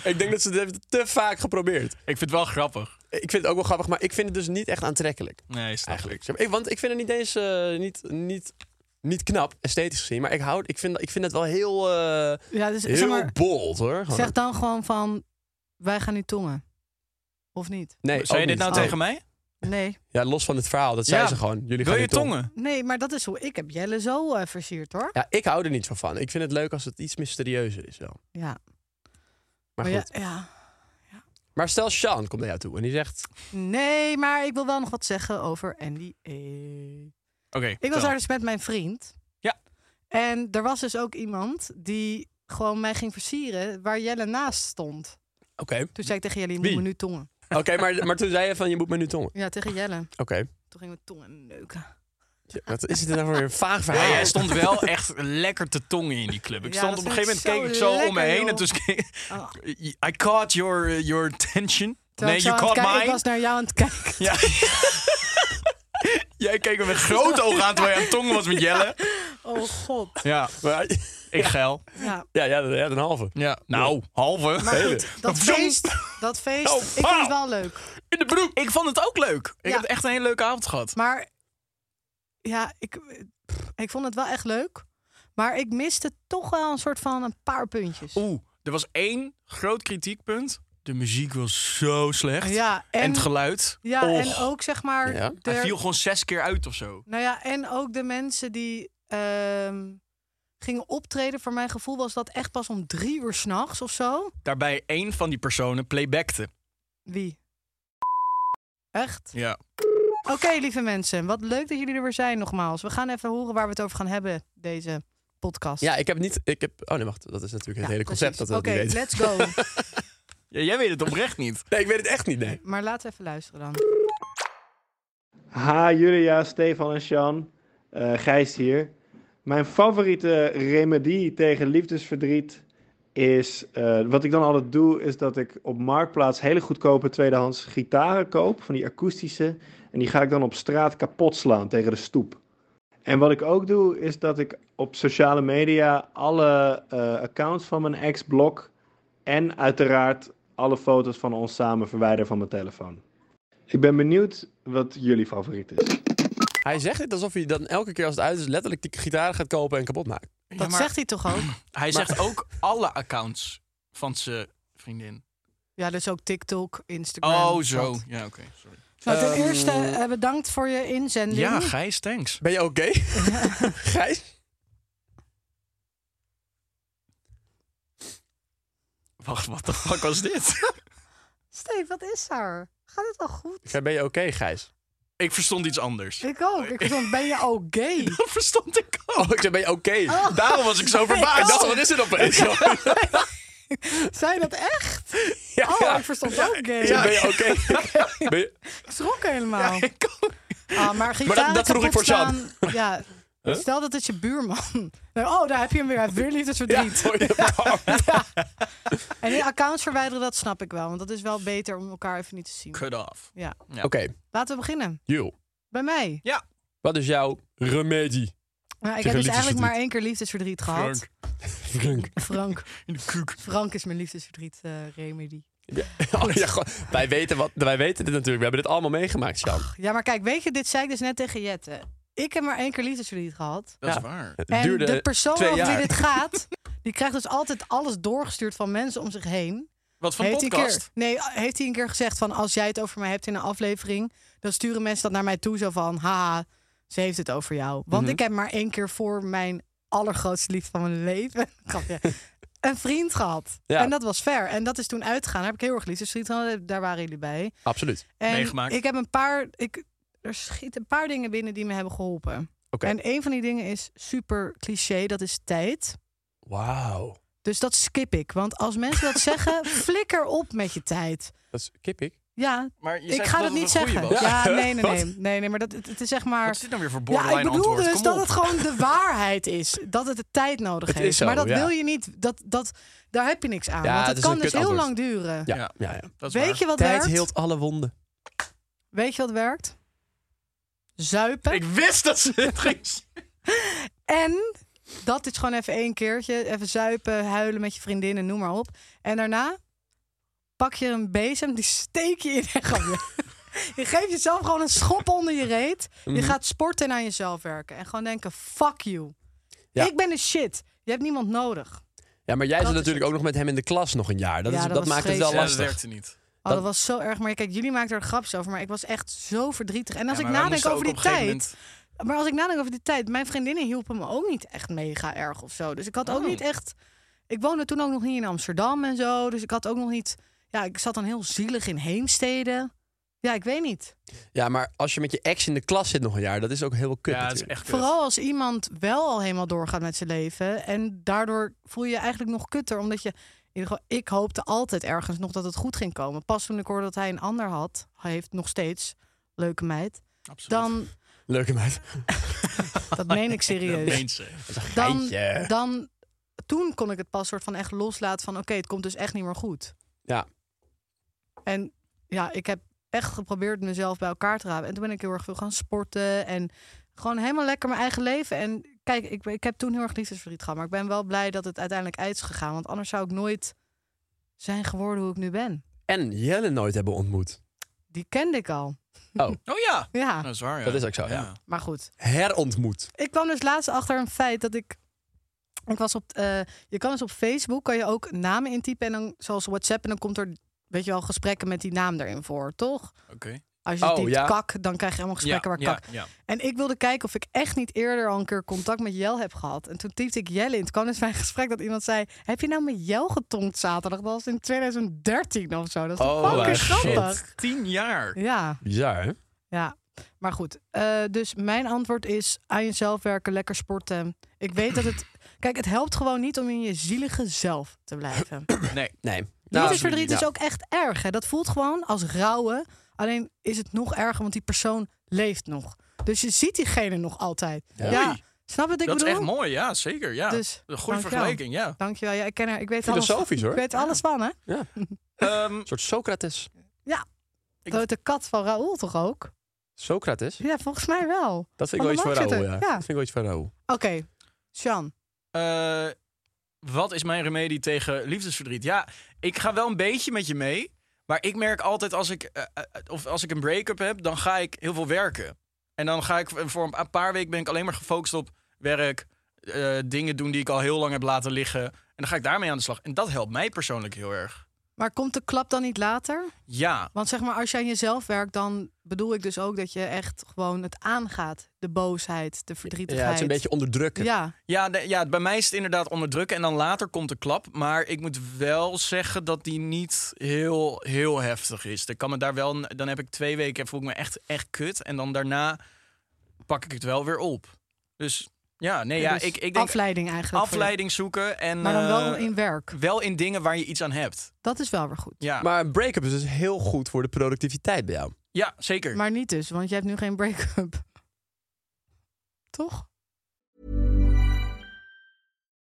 Speaker 2: Ik denk dat ze het heeft te vaak geprobeerd.
Speaker 1: Ik vind het wel grappig.
Speaker 2: Ik vind het ook wel grappig, maar ik vind het dus niet echt aantrekkelijk.
Speaker 1: Nee, snap ik.
Speaker 2: Eigenlijk. Zeg maar, ik- want ik vind het niet eens eh, niet, niet, niet knap, esthetisch gezien. Maar ik, houd, ik, vind, ik vind het wel heel, eh,
Speaker 3: Ja, dus
Speaker 2: heel
Speaker 3: zeg maar,
Speaker 2: bold hoor. Gewoon.
Speaker 3: zeg dan gewoon van, wij gaan nu tongen. Of niet?
Speaker 1: Zei
Speaker 2: nee,
Speaker 1: je
Speaker 2: ook
Speaker 1: dit
Speaker 2: niet.
Speaker 1: nou
Speaker 2: Oh.
Speaker 1: tegen mij?
Speaker 3: Nee.
Speaker 2: Ja, los van het verhaal. Dat zei
Speaker 1: Ja,
Speaker 2: ze gewoon. Jullie
Speaker 1: Wil
Speaker 2: gaan
Speaker 1: je
Speaker 2: nu tongen.
Speaker 1: tongen?
Speaker 3: Nee, maar dat is hoe ik heb Jelle zo eh, versierd, hoor.
Speaker 2: Ja, ik hou er niet zo van. Ik vind het leuk als het iets mysterieuzer is wel.
Speaker 3: Ja.
Speaker 2: Maar,
Speaker 3: Maar
Speaker 2: goed.
Speaker 3: ja, ja.
Speaker 2: maar stel, Sean komt naar jou toe en die zegt...
Speaker 3: Nee, maar ik wil wel nog wat zeggen over Andy E.
Speaker 1: Oké.
Speaker 3: Ik
Speaker 1: tel.
Speaker 3: was daar dus met mijn vriend.
Speaker 1: Ja.
Speaker 3: En er was dus ook iemand die gewoon mij ging versieren waar Jelle naast stond.
Speaker 2: Oké,
Speaker 3: Toen zei ik tegen Jelle, je
Speaker 2: Wie?
Speaker 3: moet me nu tongen.
Speaker 2: oké, maar, maar toen zei je van je moet me nu tongen.
Speaker 3: Ja, tegen Jelle.
Speaker 2: Oké,
Speaker 3: Toen gingen we tongen neuken.
Speaker 2: Ja, wat is dit nou voor weer een vaag verhaal?
Speaker 1: Hey, jij stond wel echt lekker te tongen in die club. Ik
Speaker 3: Ja,
Speaker 1: stond op
Speaker 3: dat
Speaker 1: een gegeven moment,
Speaker 3: vind ik
Speaker 1: keek ik
Speaker 3: zo
Speaker 1: zo om me
Speaker 3: lekker,
Speaker 1: heen. En
Speaker 3: joh.
Speaker 1: toen
Speaker 3: Oh.
Speaker 1: I caught your, eh, your attention.
Speaker 3: Terwijl
Speaker 1: nee, you
Speaker 3: ik zo aan
Speaker 1: caught
Speaker 3: het kijken- Ik
Speaker 1: mine.
Speaker 3: was naar jou aan het kijken.
Speaker 1: Ja. jij keek me met grote ogen aan terwijl je aan het tongen was met Jelle.
Speaker 3: Oh god.
Speaker 1: Ja,
Speaker 2: Maar-
Speaker 1: ik geil.
Speaker 3: Ja.
Speaker 2: ja, ja, ja, een halve.
Speaker 1: Ja. Nou, halve.
Speaker 2: Hele.
Speaker 3: Dat
Speaker 1: Zoom.
Speaker 3: feest, dat feest,
Speaker 1: Oh,
Speaker 3: ik vond het wel leuk.
Speaker 1: In de broek. Ik vond het ook leuk. Ik
Speaker 3: Ja.
Speaker 1: heb echt een hele leuke avond gehad.
Speaker 3: Maar ja, ik, pff, ik vond het wel echt leuk. Maar ik miste toch wel een soort van een paar puntjes.
Speaker 1: Oeh, er was één groot kritiekpunt. De muziek was zo slecht.
Speaker 3: Ja, en,
Speaker 1: En het geluid.
Speaker 3: ja,
Speaker 1: Och.
Speaker 3: en ook zeg maar.
Speaker 2: Ja.
Speaker 1: Hij
Speaker 3: de-
Speaker 1: viel gewoon zes keer uit of zo.
Speaker 3: nou ja, en ook de mensen die ehm, gingen optreden. Voor mijn gevoel was dat echt pas om drie uur s'nachts of zo.
Speaker 1: Daarbij één van die personen playbackte.
Speaker 3: Wie? Echt?
Speaker 1: Ja.
Speaker 3: Oké, lieve mensen. Wat leuk dat jullie er weer zijn nogmaals. We gaan even horen waar we het over gaan hebben, deze podcast.
Speaker 2: Ja, ik heb niet... Ik heb, oh nee, wacht. Dat is natuurlijk het
Speaker 3: Ja,
Speaker 2: hele concept
Speaker 3: precies.
Speaker 2: dat we dat
Speaker 3: Oké,
Speaker 2: niet weten.
Speaker 3: let's go.
Speaker 1: Ja, jij weet het oprecht niet.
Speaker 2: Nee, ik weet het echt niet, nee.
Speaker 3: Maar laten we even luisteren dan.
Speaker 4: Ha, Julia, Stefan en Sean. Eh, Gijs hier. Mijn favoriete remedie tegen liefdesverdriet is... eh, wat ik dan altijd doe, is dat ik op Marktplaats hele goedkope tweedehands gitaren koop. Van die akoestische. En die ga ik dan op straat kapot slaan tegen de stoep. En wat ik ook doe, is dat ik op sociale media alle eh, accounts van mijn ex blok. En uiteraard alle foto's van ons samen verwijder van mijn telefoon. Ik ben benieuwd wat jullie favoriet is.
Speaker 2: Hij zegt dit alsof hij dan elke keer als het uit is letterlijk die gitaar gaat kopen en kapot maakt.
Speaker 3: Dat
Speaker 1: maar-
Speaker 3: zegt hij toch ook?
Speaker 1: Hij zegt ook alle accounts van zijn vriendin.
Speaker 3: Ja, dus ook TikTok, Instagram.
Speaker 1: Oh, zo.
Speaker 3: dat.
Speaker 1: Ja, oké. sorry.
Speaker 3: Nou, ten
Speaker 2: Ehm,
Speaker 3: eerste eh, bedankt voor je inzending.
Speaker 1: Ja, Gijs, thanks.
Speaker 2: Ben je oké? Gijs?
Speaker 1: Wacht, wat de fuck was dit?
Speaker 3: Steve, wat is er? Gaat het al goed?
Speaker 2: Ik zei, ben je oké, Gijs?
Speaker 1: ik verstond iets anders.
Speaker 3: Ik ook. Ik vond, ben je al gay?
Speaker 1: Dat verstond ik
Speaker 2: Oh,
Speaker 1: ook. Oh.
Speaker 2: ik zei, ben je oké?
Speaker 1: Daarom was ik zo
Speaker 2: Maar ik
Speaker 1: verbaasd.
Speaker 2: dacht, wat is er opeens?
Speaker 3: Oh.
Speaker 2: Ja,
Speaker 3: Zei dat echt?
Speaker 2: ja.
Speaker 3: Oh, ik verstond ook
Speaker 2: Ik
Speaker 3: gay.
Speaker 2: zei, Dus ben je oké? Ben je-
Speaker 3: Ik schrok helemaal.
Speaker 1: Ik ook.
Speaker 3: Ah, maar gitaar
Speaker 2: dat- dat vroeg ik voor
Speaker 3: kapotslaan,
Speaker 2: Jan.
Speaker 3: Ja. Stel dat het je buurman... Nou, oh, daar heb je hem weer. Hij heeft weer
Speaker 2: Ja,
Speaker 3: liefdesverdriet.
Speaker 2: voor je-
Speaker 3: En die accounts verwijderen, dat snap ik wel. Want dat is wel beter om elkaar even niet te zien.
Speaker 1: Cut off.
Speaker 3: Ja.
Speaker 1: Ja.
Speaker 2: Oké,
Speaker 3: Laten we beginnen.
Speaker 2: Jul.
Speaker 3: Bij mij.
Speaker 1: Ja.
Speaker 2: Wat is jouw remedie?
Speaker 3: Nou, ik
Speaker 2: Tegen
Speaker 3: heb dus
Speaker 2: liefdesverdriet.
Speaker 3: eigenlijk maar één keer liefdesverdriet gehad.
Speaker 2: Frank.
Speaker 3: Frank.
Speaker 1: In de kuk.
Speaker 3: Frank is mijn liefdesverdriet eh remedy.
Speaker 2: Ja, oh, ja, goh. wij, weten wat, wij weten dit natuurlijk. We hebben dit allemaal meegemaakt, Sjan.
Speaker 3: Ja, maar kijk, weet je, dit zei ik dus net tegen Jette. Ik heb maar één keer liefdesverdriet gehad.
Speaker 1: Dat
Speaker 2: Ja.
Speaker 1: is waar.
Speaker 2: Het
Speaker 3: En
Speaker 2: duurde
Speaker 3: de persoon
Speaker 2: twee
Speaker 3: over
Speaker 2: jaar.
Speaker 3: wie dit gaat, die krijgt dus altijd alles doorgestuurd van mensen om zich heen.
Speaker 1: Wat van
Speaker 3: heeft hij een keer,
Speaker 1: podcast?
Speaker 3: nee, heeft hij een keer gezegd van als jij het over mij hebt in een aflevering, dan sturen mensen dat naar mij toe zo van, haha, ze heeft het over jou. Want
Speaker 2: Mhm.
Speaker 3: ik heb maar één keer voor mijn allergrootste liefde van mijn leven, grapje, een vriend gehad.
Speaker 2: Ja.
Speaker 3: En dat was fair. En dat is toen uitgegaan. Daar heb ik heel erg liefdesverdriet gehad. Daar waren jullie bij.
Speaker 2: Absoluut.
Speaker 3: En
Speaker 1: Meegemaakt.
Speaker 3: Ik heb een paar. Ik, er schiet een paar dingen binnen die me hebben geholpen.
Speaker 2: Oké.
Speaker 3: En een van die dingen is super cliché, dat is tijd.
Speaker 2: Wauw.
Speaker 3: Dus dat skip ik. Want als mensen dat zeggen, flikker op met je tijd.
Speaker 2: Dat is kippig.
Speaker 3: Ja,
Speaker 1: Maar je
Speaker 3: ik
Speaker 1: zei
Speaker 3: ga
Speaker 1: toch
Speaker 3: dat
Speaker 1: dat
Speaker 3: niet
Speaker 1: het een goeie
Speaker 3: zeggen.
Speaker 1: was?
Speaker 3: Ja,
Speaker 2: Ja.
Speaker 3: nee, nee,
Speaker 2: Wat?
Speaker 3: nee. nee, nee maar dat, het, het is zeg maar...
Speaker 1: Wat is dit nou weer voor
Speaker 3: Ja, ik
Speaker 1: borderline
Speaker 3: bedoel
Speaker 1: antwoord?
Speaker 3: dus
Speaker 1: Kom
Speaker 3: dat
Speaker 1: op.
Speaker 3: het gewoon de waarheid is. Dat het de tijd nodig
Speaker 2: Het is
Speaker 3: heeft.
Speaker 2: zo,
Speaker 3: maar dat
Speaker 2: ja.
Speaker 3: wil je niet. Dat, dat, daar heb je niks aan.
Speaker 2: Ja,
Speaker 3: want
Speaker 2: het
Speaker 3: het
Speaker 2: is
Speaker 3: kan
Speaker 2: een
Speaker 3: dus heel
Speaker 2: kutantwoord.
Speaker 3: lang duren.
Speaker 2: Ja,
Speaker 1: Ja.
Speaker 2: ja, ja.
Speaker 1: Dat is waar.
Speaker 3: Weet je wat
Speaker 2: Tijd
Speaker 3: werkt?
Speaker 2: heelt alle wonden.
Speaker 3: Weet je wat werkt? Zuipen.
Speaker 1: Ik wist dat ze het ging zeggen.
Speaker 3: En dat is gewoon even één keertje. Even zuipen, huilen met je vriendinnen, noem maar op. En daarna pak je een bezem, die steek je in en grapje. Je geeft jezelf gewoon een schop onder je reet. Je
Speaker 1: Mhm.
Speaker 3: gaat sporten en aan jezelf werken. En gewoon denken, fuck you.
Speaker 2: Ja.
Speaker 3: Ik ben de shit. Je hebt niemand nodig. Oh,
Speaker 2: Ja, maar jij
Speaker 3: Dat
Speaker 2: zat
Speaker 3: is
Speaker 2: natuurlijk
Speaker 3: het.
Speaker 2: ook nog met hem in de klas nog een jaar. Dat,
Speaker 3: Ja,
Speaker 2: is,
Speaker 3: dat
Speaker 2: dat,
Speaker 3: was
Speaker 2: maakt het wel
Speaker 1: Ja, dat
Speaker 2: lastig.
Speaker 1: werkte niet.
Speaker 3: Oh,
Speaker 2: Dat-
Speaker 3: dat was zo erg. Maar ja, kijk, jullie maakten er grapjes over. Maar ik was echt zo verdrietig. En als
Speaker 1: Ja,
Speaker 3: ik
Speaker 1: maar wij
Speaker 3: nadenk
Speaker 1: moesten
Speaker 3: over
Speaker 1: ook
Speaker 3: die
Speaker 1: op een
Speaker 3: tijd...
Speaker 1: gegeven moment-
Speaker 3: Maar als ik nadenk over die tijd, mijn vriendinnen hielpen me ook niet echt mega erg of zo. Dus ik had ook
Speaker 1: Oh.
Speaker 3: niet echt. Ik woonde toen ook nog niet in Amsterdam en zo. Dus ik had ook nog niet. Ja, ik zat dan heel zielig in Heemstede. Ja, ik weet niet.
Speaker 2: Ja, maar als je met je ex in de klas zit nog een jaar, dat is ook heel kut
Speaker 1: Ja, dat is
Speaker 2: natuurlijk.
Speaker 1: echt kut.
Speaker 3: Vooral als iemand wel al helemaal doorgaat met zijn leven. En daardoor voel je je eigenlijk nog kutter. Omdat je. In ieder geval, ik hoopte altijd ergens nog dat het goed ging komen. Pas toen ik hoorde dat hij een ander had, hij heeft nog steeds, leuke meid.
Speaker 1: Absoluut.
Speaker 3: Dan,
Speaker 2: Leuke meid.
Speaker 3: dat meen ik serieus.
Speaker 1: Dat meent ze.
Speaker 3: dan,
Speaker 2: Geitje.
Speaker 3: dan toen kon ik het pas soort van echt loslaten van oké, het komt dus echt niet meer goed.
Speaker 2: Ja.
Speaker 3: En ja, ik heb echt geprobeerd mezelf bij elkaar te rapen. En toen ben ik heel erg veel gaan sporten en gewoon helemaal lekker mijn eigen leven. En kijk, ik, ik heb toen heel erg liefdesverdriet gehad, maar ik ben wel blij dat het uiteindelijk uit is gegaan, want anders zou ik nooit zijn geworden hoe ik nu ben.
Speaker 2: En Jelle nooit hebben ontmoet.
Speaker 3: Die kende ik al.
Speaker 1: Oh ja.
Speaker 3: Ja,
Speaker 1: Dat is waar, ja.
Speaker 2: Dat is ook zo, ja.
Speaker 3: maar goed.
Speaker 2: Herontmoet.
Speaker 3: ik kwam dus laatst achter een feit dat ik. Ik was op. eh, je kan dus op Facebook kan je ook namen intypen en dan zoals WhatsApp en dan komt er weet je wel gesprekken met die naam erin voor, toch?
Speaker 1: Oké.
Speaker 3: Als je
Speaker 2: Oh,
Speaker 3: typt
Speaker 2: ja.
Speaker 3: kak, dan krijg je allemaal gesprekken
Speaker 1: ja,
Speaker 3: waar kak.
Speaker 1: Ja, ja.
Speaker 3: En ik wilde kijken of ik echt niet eerder al een keer contact met Jel heb gehad. En toen typte ik Jelle in. Toen kwam dus mijn gesprek dat iemand zei: Heb je nou met Jel getonkt zaterdag? Dat was in 2013 of zo. Dat is
Speaker 2: Oh,
Speaker 3: toch fucking
Speaker 2: shit.
Speaker 3: grappig.
Speaker 1: Tien jaar.
Speaker 3: Ja.
Speaker 2: Bizar, hè?
Speaker 3: Ja, maar goed. Eh, dus mijn antwoord is aan jezelf werken, lekker sporten. Ik weet dat het... Kijk, het helpt gewoon niet om in je zielige zelf te blijven.
Speaker 1: Nee.
Speaker 2: Nee. Nou,
Speaker 3: Liefdesverdriet
Speaker 2: ja.
Speaker 3: is ook echt erg. Hè? Dat voelt gewoon als rouwen. Alleen is het nog erger, want die persoon leeft nog. Dus je ziet diegene nog altijd. Ja.
Speaker 1: Oei.
Speaker 3: Snap je wat ik
Speaker 1: dat
Speaker 3: bedoel?
Speaker 1: is echt mooi, ja, zeker. Ja.
Speaker 3: Dus,
Speaker 1: een goede
Speaker 3: dankjewel.
Speaker 1: vergelijking, ja.
Speaker 3: Dankjewel. Ja, ik ken haar. Ik weet alles.
Speaker 2: Filosofisch hoor.
Speaker 3: Ik weet
Speaker 2: Een
Speaker 3: er alles van, hè?
Speaker 1: Ehm,
Speaker 2: soort Socrates.
Speaker 1: Ik-
Speaker 3: Dat de kat van Raoul toch ook?
Speaker 2: Socrates?
Speaker 3: Ja, volgens mij wel. Oké,
Speaker 2: Dat vind ik wel
Speaker 3: Van de
Speaker 2: iets van
Speaker 3: markt
Speaker 2: Raoul, ja.
Speaker 3: zitten,
Speaker 2: Dat
Speaker 3: ja.
Speaker 2: vind ik wel iets van Raoul.
Speaker 3: Sjan.
Speaker 1: eh, wat is mijn remedie tegen liefdesverdriet? Ja, ik ga wel een beetje met je mee. Maar ik merk altijd als ik, eh, eh, of als ik een break-up heb, dan ga ik heel veel werken. En dan ga ik voor een paar weken ben ik alleen maar gefocust op werk. eh, dingen doen die ik al heel lang heb laten liggen. En dan ga ik daarmee aan de slag. En dat helpt mij persoonlijk heel erg.
Speaker 3: Maar komt de klap dan niet later?
Speaker 1: Ja,
Speaker 3: Want zeg maar, als jij aan jezelf werkt, dan bedoel ik dus ook dat je echt gewoon het aangaat. De boosheid, de
Speaker 2: Ja,
Speaker 3: verdrietigheid.
Speaker 2: het is een beetje onderdrukken.
Speaker 3: Ja,
Speaker 1: Ja, de- ja, bij mij is het inderdaad onderdrukken en dan later komt de klap. Maar ik moet wel zeggen dat die niet heel, heel heftig is. Dan, kan me daar wel, dan heb ik twee weken en voel ik me echt, echt kut. En dan daarna pak ik het wel weer op. Dus ja, nee, ja,
Speaker 3: dus
Speaker 1: ik, ik denk
Speaker 3: afleiding eigenlijk. voor je.
Speaker 1: afleiding zoeken en
Speaker 3: Maar dan wel
Speaker 1: eh,
Speaker 3: in werk.
Speaker 1: wel in dingen waar je iets aan hebt.
Speaker 3: Dat is wel weer goed.
Speaker 1: Ja,
Speaker 2: Maar een break-up is dus heel goed voor de productiviteit bij jou.
Speaker 1: ja zeker.
Speaker 3: Maar niet dus, want je hebt nu geen break-up. Toch?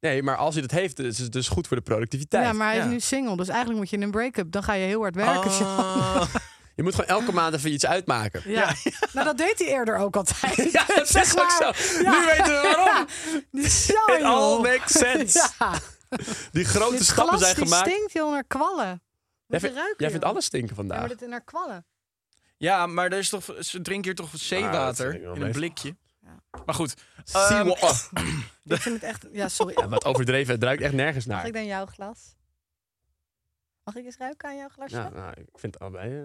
Speaker 2: Nee, maar als hij dat heeft, is het dus goed voor de productiviteit.
Speaker 3: Ja, maar hij
Speaker 1: ja.
Speaker 3: is nu single, dus eigenlijk moet je in een break-up. Dan ga je heel hard werken.
Speaker 2: Oh.
Speaker 3: Sjan.
Speaker 1: Ah,
Speaker 2: Je moet gewoon elke maand even iets uitmaken.
Speaker 3: Ja. Nou, dat deed hij eerder ook altijd.
Speaker 2: Ja, dat
Speaker 3: Zeg
Speaker 2: is ook
Speaker 3: maar.
Speaker 2: zo.
Speaker 3: Ja.
Speaker 2: Nu weten we waarom.
Speaker 3: Die Sjan,
Speaker 2: It all
Speaker 3: joh.
Speaker 2: makes sense.
Speaker 3: Ja.
Speaker 2: Die grote
Speaker 3: Dit
Speaker 2: stappen
Speaker 3: glas,
Speaker 2: zijn
Speaker 3: die
Speaker 2: gemaakt.
Speaker 3: stinkt heel naar kwallen.
Speaker 2: Jij,
Speaker 3: Moet je
Speaker 2: vindt-
Speaker 3: ruiken,
Speaker 2: jij
Speaker 3: joh.
Speaker 2: vindt alles stinken
Speaker 3: Ja,
Speaker 2: vandaag.
Speaker 3: maar dit naar kwallen.
Speaker 1: ja, maar er is toch, ze drinken hier toch zeewater
Speaker 2: Ah, vind ik wel
Speaker 1: in een
Speaker 2: meestal.
Speaker 1: blikje. Maar goed.
Speaker 2: Sea
Speaker 1: ehm,
Speaker 2: wa- oh,
Speaker 3: Ik vind het echt... Ja, sorry.
Speaker 2: ja, wat overdreven, het ruikt echt nergens
Speaker 3: Mag
Speaker 2: naar.
Speaker 3: ik dan jouw glas? Mag ik eens ruiken aan jouw glasje?
Speaker 2: Ja, nou, ik vind het allebei... eh,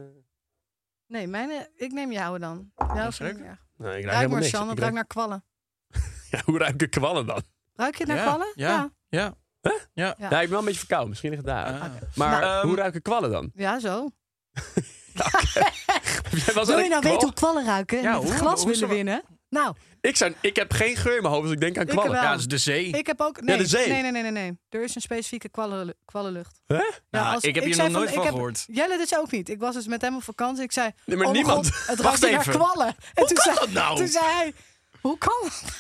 Speaker 3: Nee, mijne, ik neem jouwe dan. Jouw
Speaker 1: eens
Speaker 3: vind ik
Speaker 1: ruiken.
Speaker 3: niet erg.
Speaker 2: nou, ik ruik
Speaker 3: Ruik
Speaker 2: helemaal
Speaker 3: maar,
Speaker 2: niks.
Speaker 3: Sjan,
Speaker 2: Ik
Speaker 3: dat
Speaker 2: ruik-
Speaker 3: ruikt naar kwallen.
Speaker 2: Ja, hoe ruiken kwallen dan?
Speaker 3: Ruik je het naar
Speaker 1: Ja,
Speaker 3: kwallen?
Speaker 1: ja. Ja.
Speaker 3: Ja.
Speaker 2: Nou, ik ben wel een beetje verkouden. Misschien ligt het daar.
Speaker 1: Ah.
Speaker 2: Maar
Speaker 1: Nou,
Speaker 2: hoe
Speaker 1: ehm,
Speaker 2: ruiken kwallen dan?
Speaker 3: Ja, zo.
Speaker 2: Jij was
Speaker 3: Wil
Speaker 2: aan
Speaker 3: je
Speaker 2: een
Speaker 3: nou weten
Speaker 2: kwal?
Speaker 3: hoe kwallen ruiken en
Speaker 1: Ja,
Speaker 3: met het
Speaker 1: hoe-
Speaker 3: glas
Speaker 1: hoe
Speaker 3: willen
Speaker 1: zou-
Speaker 3: winnen? Nou,
Speaker 2: ik, zou, ik heb geen geur in mijn hoofd als ik denk aan
Speaker 3: Ik
Speaker 2: kwallen.
Speaker 3: wel.
Speaker 1: Ja, dat is de zee.
Speaker 3: ik heb ook...
Speaker 2: Ja,
Speaker 3: Nee,
Speaker 2: de zee.
Speaker 3: nee, nee, nee, nee, nee. Er is een specifieke kwallen, kwallenlucht.
Speaker 2: Hè?
Speaker 3: Ja,
Speaker 1: Nou,
Speaker 3: als-
Speaker 1: ik heb hier
Speaker 3: zei
Speaker 1: nog nooit
Speaker 3: ik
Speaker 1: van
Speaker 3: heb-
Speaker 1: gehoord.
Speaker 3: Jelle dus ook niet. Ik was dus met hem op vakantie. Ik zei,
Speaker 2: Nee, maar
Speaker 3: oh mijn
Speaker 2: niemand.
Speaker 3: God, het
Speaker 1: Wacht
Speaker 3: ruikt hier naar
Speaker 1: even.
Speaker 3: kwallen. En toen
Speaker 1: kan
Speaker 3: zei,
Speaker 1: dat nou?
Speaker 3: Toen zei hij, hoe kan dat?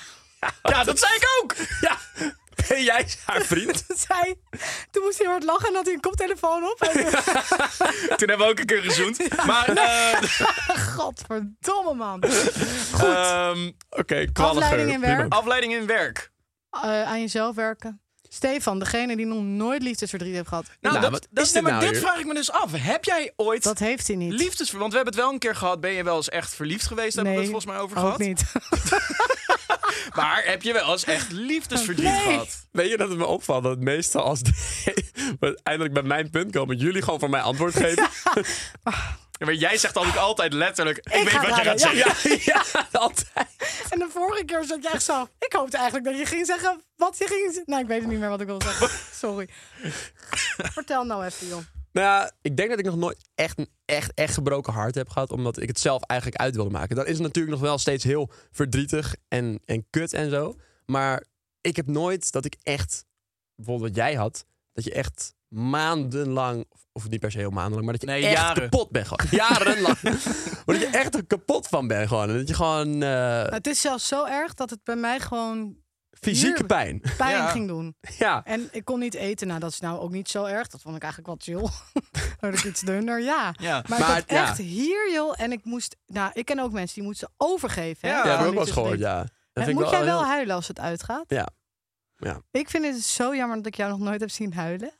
Speaker 1: Ja, dat zei ik ook.
Speaker 2: Oh. Ja, ben jij haar vriend?
Speaker 3: Toen, zei, hij- toen moest hij heel hard lachen en had hij een koptelefoon op. En toen,
Speaker 1: Toen hebben we ook een keer gezoend. Maar eh,
Speaker 3: godverdomme man.
Speaker 1: ehm,
Speaker 2: Oké, kwallengeur.
Speaker 3: Afleiding in
Speaker 2: Prima.
Speaker 3: werk.
Speaker 1: afleiding in werk.
Speaker 3: Eh, aan jezelf werken. Stefan, degene die nog nooit liefdesverdriet heeft gehad.
Speaker 1: Nou,
Speaker 2: Nou,
Speaker 1: dat,
Speaker 2: wat
Speaker 1: dat-
Speaker 2: is
Speaker 1: nee,
Speaker 2: dit
Speaker 1: maar
Speaker 2: nou
Speaker 1: dit
Speaker 2: weer?
Speaker 1: vraag ik me dus af. Heb jij ooit
Speaker 3: Dat heeft hij niet.
Speaker 1: liefdes... Want we hebben het wel een keer gehad. Ben je wel eens echt verliefd geweest? Daar
Speaker 3: nee,
Speaker 1: hebben we het volgens mij over
Speaker 3: ook
Speaker 1: gehad.
Speaker 3: niet.
Speaker 1: Maar heb je wel eens echt liefdesverdriet
Speaker 3: Nee.
Speaker 1: gehad?
Speaker 2: Weet je dat het me opvalt dat meestal als de- we eindelijk bij mijn punt komen, jullie gewoon voor mij antwoord geven?
Speaker 1: Ja, maar jij zegt altijd, altijd letterlijk... Ik,
Speaker 3: ga
Speaker 1: weet wat je
Speaker 3: raden,
Speaker 1: gaat
Speaker 3: ja.
Speaker 1: zeggen.
Speaker 2: Ja, ja, altijd.
Speaker 3: En de vorige keer zat je echt zo. Ik hoopte eigenlijk dat je ging zeggen wat je ging zeggen. Nou, ik weet niet meer wat ik wil zeggen. Sorry. Vertel nou even, joh.
Speaker 2: Nou, ja, ik denk dat ik nog nooit echt een echt, echt gebroken hart heb gehad, omdat ik het zelf eigenlijk uit wilde maken. Dan is het natuurlijk nog wel steeds heel verdrietig en, en kut en zo. Maar ik heb nooit dat ik echt, bijvoorbeeld wat jij had, dat je echt maandenlang, of, of niet per se heel maandenlang, maar dat je
Speaker 1: Nee,
Speaker 2: echt
Speaker 1: jaren.
Speaker 2: kapot bent gewoon. Jarenlang. maar dat je echt er kapot van bent gewoon. En dat je gewoon eh,
Speaker 3: Het is zelfs zo erg dat het bij mij gewoon
Speaker 2: fysieke
Speaker 3: hier-
Speaker 2: pijn.
Speaker 3: pijn
Speaker 1: Ja.
Speaker 3: ging doen.
Speaker 2: ja.
Speaker 3: En ik kon niet eten. Nou, dat is nou ook niet zo erg. Dat vond ik eigenlijk wel chill. Werd ik iets dunner, ja.
Speaker 1: Ja.
Speaker 3: Maar,
Speaker 2: Maar,
Speaker 3: ik had
Speaker 2: ja.
Speaker 3: echt hier, joh. En ik moest... Nou, ik ken ook mensen die moesten overgeven. hè,
Speaker 1: Ja,
Speaker 2: Ja,
Speaker 3: aan
Speaker 2: heb ik ook wel eens
Speaker 3: liefdesverdriet.
Speaker 2: gehoord, ja. Dat
Speaker 3: En
Speaker 2: vind ik eh,
Speaker 3: moet jij wel
Speaker 2: heel-
Speaker 3: huilen als het uitgaat?
Speaker 2: Ja. Ja.
Speaker 3: Ik vind het zo jammer dat ik jou nog nooit heb zien huilen.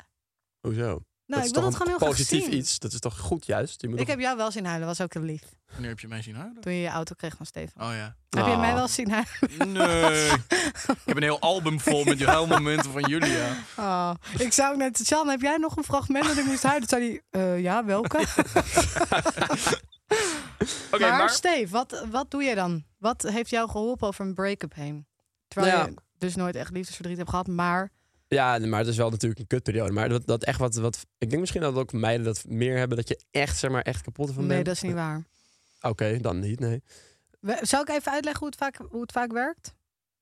Speaker 2: Hoezo?
Speaker 3: Nou,
Speaker 2: dat
Speaker 3: ik
Speaker 2: is toch een
Speaker 3: wil dat gewoon heel graag
Speaker 2: positief
Speaker 3: zien.
Speaker 2: iets. Dat is toch goed juist? Je moet
Speaker 3: Ik
Speaker 2: toch-
Speaker 3: heb jou wel zien huilen, was ook heel lief.
Speaker 1: Wanneer heb je mij zien houden?
Speaker 3: Toen je je auto kreeg van Stefan.
Speaker 1: Oh ja.
Speaker 3: Heb je
Speaker 2: Ah.
Speaker 3: mij wel zien huilen?
Speaker 1: Nee. ik heb een heel album vol met je huilmomenten van Julia.
Speaker 3: Oh, ik zou ook net... Sjan, heb jij nog een fragment dat ik moest huilen? Toen zei hij, eh, ja, welke?
Speaker 2: Oké,
Speaker 3: maar,
Speaker 2: maar...
Speaker 3: Steve, wat, wat doe jij dan? Wat heeft jou geholpen over een break-up heen? Terwijl
Speaker 2: Nou ja.
Speaker 3: je dus nooit echt liefdesverdriet hebt gehad, maar...
Speaker 2: Ja, maar het is wel natuurlijk een kutperiode. Maar dat, dat echt wat, wat... Ik denk misschien dat ook meiden dat meer hebben. Dat je echt, zeg maar, echt kapot van
Speaker 3: Nee,
Speaker 2: bent.
Speaker 3: dat is niet waar.
Speaker 2: Oké, dan niet, nee.
Speaker 3: We- Zou ik even uitleggen hoe het vaak, hoe het vaak werkt?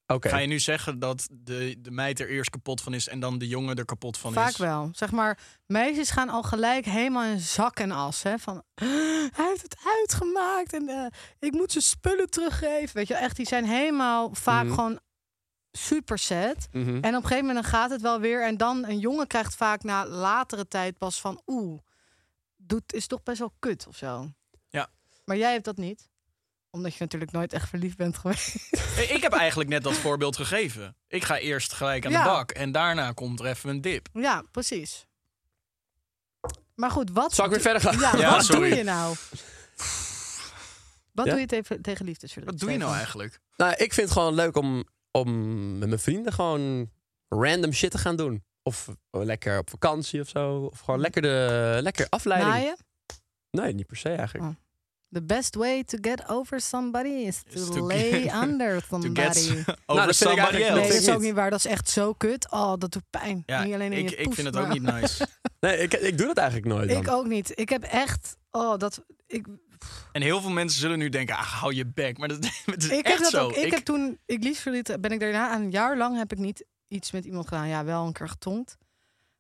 Speaker 2: Oké.
Speaker 1: Ga je nu zeggen dat de, de meid er eerst kapot van is en dan de jongen er kapot van
Speaker 3: vaak
Speaker 1: is?
Speaker 3: wel. Zeg maar, meisjes gaan al gelijk helemaal in zak en as. Hè? Van, hij heeft het uitgemaakt en eh, ik moet zijn spullen teruggeven. Weet je, wel, echt, die zijn helemaal vaak
Speaker 2: Mhm.
Speaker 3: gewoon super set.
Speaker 2: Mhm.
Speaker 3: En op een gegeven moment dan gaat het wel weer. En dan een jongen krijgt vaak na latere tijd pas van... oeh, doet is toch best wel kut of zo.
Speaker 1: Ja.
Speaker 3: Maar jij hebt dat niet. Omdat je natuurlijk nooit echt verliefd bent geweest.
Speaker 1: Hey, Ik heb eigenlijk net dat voorbeeld gegeven. Ik ga eerst gelijk aan
Speaker 3: Ja.
Speaker 1: de bak en daarna komt er even een dip.
Speaker 3: ja, precies. Maar goed, wat...
Speaker 2: Zal ik weer
Speaker 3: doe-
Speaker 2: verder gaan?
Speaker 3: Ja,
Speaker 1: Ja,
Speaker 3: wat
Speaker 1: sorry.
Speaker 3: doe je nou? Wat
Speaker 2: Ja?
Speaker 3: doe je tegen, tegen liefdesverdriet?
Speaker 1: Wat doe je nou
Speaker 3: Stefan?
Speaker 1: eigenlijk?
Speaker 2: Nou, ik vind het gewoon leuk om, om met mijn vrienden gewoon random shit te gaan doen. Of lekker op vakantie of zo. Of gewoon lekker, de, lekker afleiding.
Speaker 3: Naaien?
Speaker 2: Nee, niet per se eigenlijk.
Speaker 3: Oh. The best way to get over somebody is to,
Speaker 1: Is to
Speaker 3: lay
Speaker 1: get-
Speaker 3: under
Speaker 1: To
Speaker 3: somebody.
Speaker 1: get over
Speaker 2: Nou, dat vind ik
Speaker 1: somebody
Speaker 2: eigenlijk-
Speaker 1: else.
Speaker 3: Nee, dat
Speaker 2: vind
Speaker 3: is
Speaker 2: ik
Speaker 3: ook
Speaker 2: niet.
Speaker 3: niet waar. Dat is echt zo kut. Oh, dat doet pijn.
Speaker 1: Ja,
Speaker 3: niet alleen in
Speaker 1: ik,
Speaker 3: je
Speaker 1: ik
Speaker 3: poes,
Speaker 1: vind het
Speaker 3: maar-
Speaker 1: ook niet nice.
Speaker 2: Nee, ik, ik doe dat eigenlijk nooit. Dan.
Speaker 3: Ik ook niet. Ik heb echt... Oh, dat... Ik,
Speaker 1: En heel veel mensen zullen nu denken, ach, hou je bek. Maar dat, het is
Speaker 3: ik heb
Speaker 1: echt
Speaker 3: dat
Speaker 1: zo.
Speaker 3: ook... Ik, heb toen... Ik liefdesverdriet ben ik daarna... Een jaar lang heb ik niet iets met iemand gedaan. Ja, wel een keer getongd.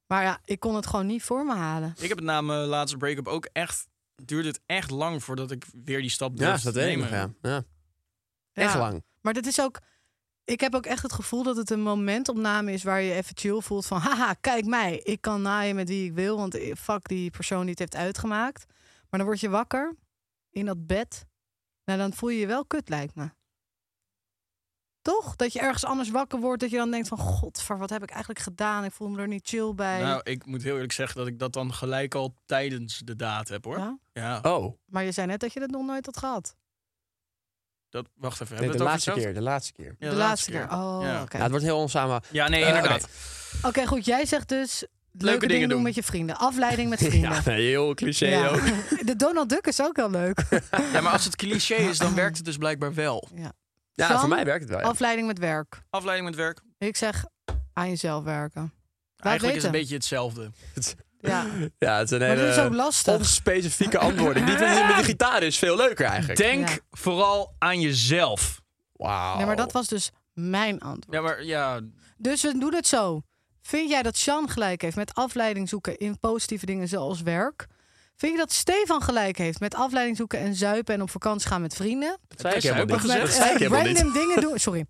Speaker 3: Maar ja, ik kon het gewoon niet voor me halen.
Speaker 1: ik heb het na mijn laatste break-up ook echt... Duurde het echt lang voordat ik weer die stap
Speaker 2: Ja,
Speaker 1: durfde
Speaker 2: dat
Speaker 1: te
Speaker 2: weet ik
Speaker 1: nemen.
Speaker 2: nog, ja. ja. Echt
Speaker 3: Ja.
Speaker 2: lang.
Speaker 3: Maar dat is ook... Ik heb ook echt het gevoel dat het een momentopname is waar je even chill voelt van... Haha, kijk mij. Ik kan naaien met wie ik wil, want fuck die persoon die het heeft uitgemaakt. Maar dan word je wakker in dat bed. Nou, dan voel je je wel kut, lijkt me. Toch? Dat je ergens anders wakker wordt, dat je dan denkt van... Godver, wat heb ik eigenlijk gedaan? Ik voel me er niet chill bij.
Speaker 1: Nou, ik moet heel eerlijk zeggen dat ik dat dan gelijk al tijdens de daad heb, hoor.
Speaker 3: Ja?
Speaker 1: Ja,
Speaker 2: Oh,
Speaker 3: Maar je zei net dat je dat nog nooit had gehad.
Speaker 1: dat, wacht even.
Speaker 2: nee,
Speaker 1: hebben
Speaker 2: de
Speaker 1: we het over
Speaker 2: laatste
Speaker 1: hetzelfde?
Speaker 2: keer. De laatste keer.
Speaker 1: Ja,
Speaker 3: de laatste keer. Oh,
Speaker 1: ja.
Speaker 3: oké.
Speaker 2: Ja, het wordt heel onsamen.
Speaker 1: Ja, nee,
Speaker 2: Eh,
Speaker 1: inderdaad.
Speaker 3: Oké, goed. Jij zegt dus... Leuke,
Speaker 1: dingen
Speaker 3: dingen,
Speaker 1: doen.
Speaker 3: doen met je vrienden. Afleiding met vrienden.
Speaker 2: Ja, nee, heel cliché
Speaker 3: Ja.
Speaker 2: ook.
Speaker 3: De Donald Duck is ook heel leuk.
Speaker 1: Ja, maar als het cliché is, dan werkt het dus blijkbaar wel.
Speaker 3: Ja.
Speaker 2: Ja,
Speaker 3: Sam,
Speaker 2: voor mij werkt het wel. ja.
Speaker 3: Afleiding met werk.
Speaker 1: Afleiding met werk.
Speaker 3: Ik zeg aan jezelf werken. Laat
Speaker 1: Eigenlijk is het een
Speaker 3: weten.
Speaker 1: beetje hetzelfde.
Speaker 3: Ja.
Speaker 2: Ja, het zijn
Speaker 3: Maar
Speaker 2: hele
Speaker 3: dat is ook lastig.
Speaker 2: onspecifieke antwoorden. Die vind ik met de gitaar is veel leuker eigenlijk.
Speaker 1: Denk
Speaker 3: Ja.
Speaker 1: vooral aan jezelf.
Speaker 2: Wauw.
Speaker 3: Nee, maar dat was dus mijn antwoord.
Speaker 1: Ja, maar ja,
Speaker 3: Dus we doen het zo. Vind jij dat Sjan gelijk heeft met afleiding zoeken in positieve dingen zoals werk? Vind je dat Stefan gelijk heeft met afleiding zoeken en zuipen en op vakantie gaan met vrienden?
Speaker 2: Dat zei ik
Speaker 1: Zij
Speaker 2: helemaal
Speaker 1: hebben
Speaker 2: niet.
Speaker 1: gezegd.
Speaker 2: Dat
Speaker 3: Met,
Speaker 2: zei ik
Speaker 3: eh,
Speaker 2: helemaal niet.
Speaker 3: random dingen doen. Sorry.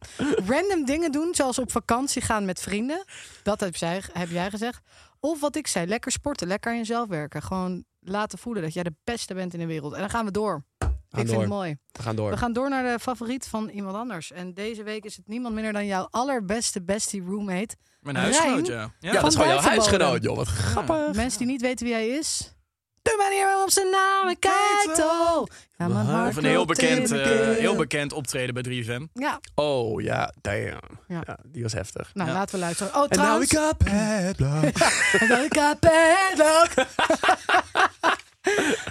Speaker 3: Random dingen doen, zoals op vakantie gaan met vrienden. Dat heb, zij, heb jij gezegd. Of wat ik zei, lekker sporten, lekker aan jezelf werken. Gewoon laten voelen dat jij de beste bent in de wereld. En dan gaan we door. ik
Speaker 2: door.
Speaker 3: vind het mooi.
Speaker 2: We gaan door.
Speaker 3: We gaan door naar de favoriet van iemand anders. En deze week is het niemand minder dan jouw allerbeste bestie roommate.
Speaker 1: mijn
Speaker 3: Rijn?
Speaker 1: huisgenoot, ja. Ja,
Speaker 2: Ja, dat is gewoon jouw
Speaker 3: buitenboden.
Speaker 2: huisgenoot, joh. Wat grappig.
Speaker 3: Mensen die niet weten wie hij is. De manier waarop zijn naam kijkt. Oh. Ja, mijn hart
Speaker 1: Of een heel
Speaker 3: klopt
Speaker 1: bekend,
Speaker 3: in
Speaker 1: eh,
Speaker 3: mijn keel.
Speaker 1: heel bekend optreden bij 3FM.
Speaker 3: Ja,
Speaker 2: Oh, ja, damn.
Speaker 3: Ja.
Speaker 2: Ja. die was heftig.
Speaker 3: nou
Speaker 1: Ja.
Speaker 3: laten we luisteren. Oh,
Speaker 2: En nou
Speaker 3: trouwens.
Speaker 2: ik heb bad luck.
Speaker 3: Ik had padlock.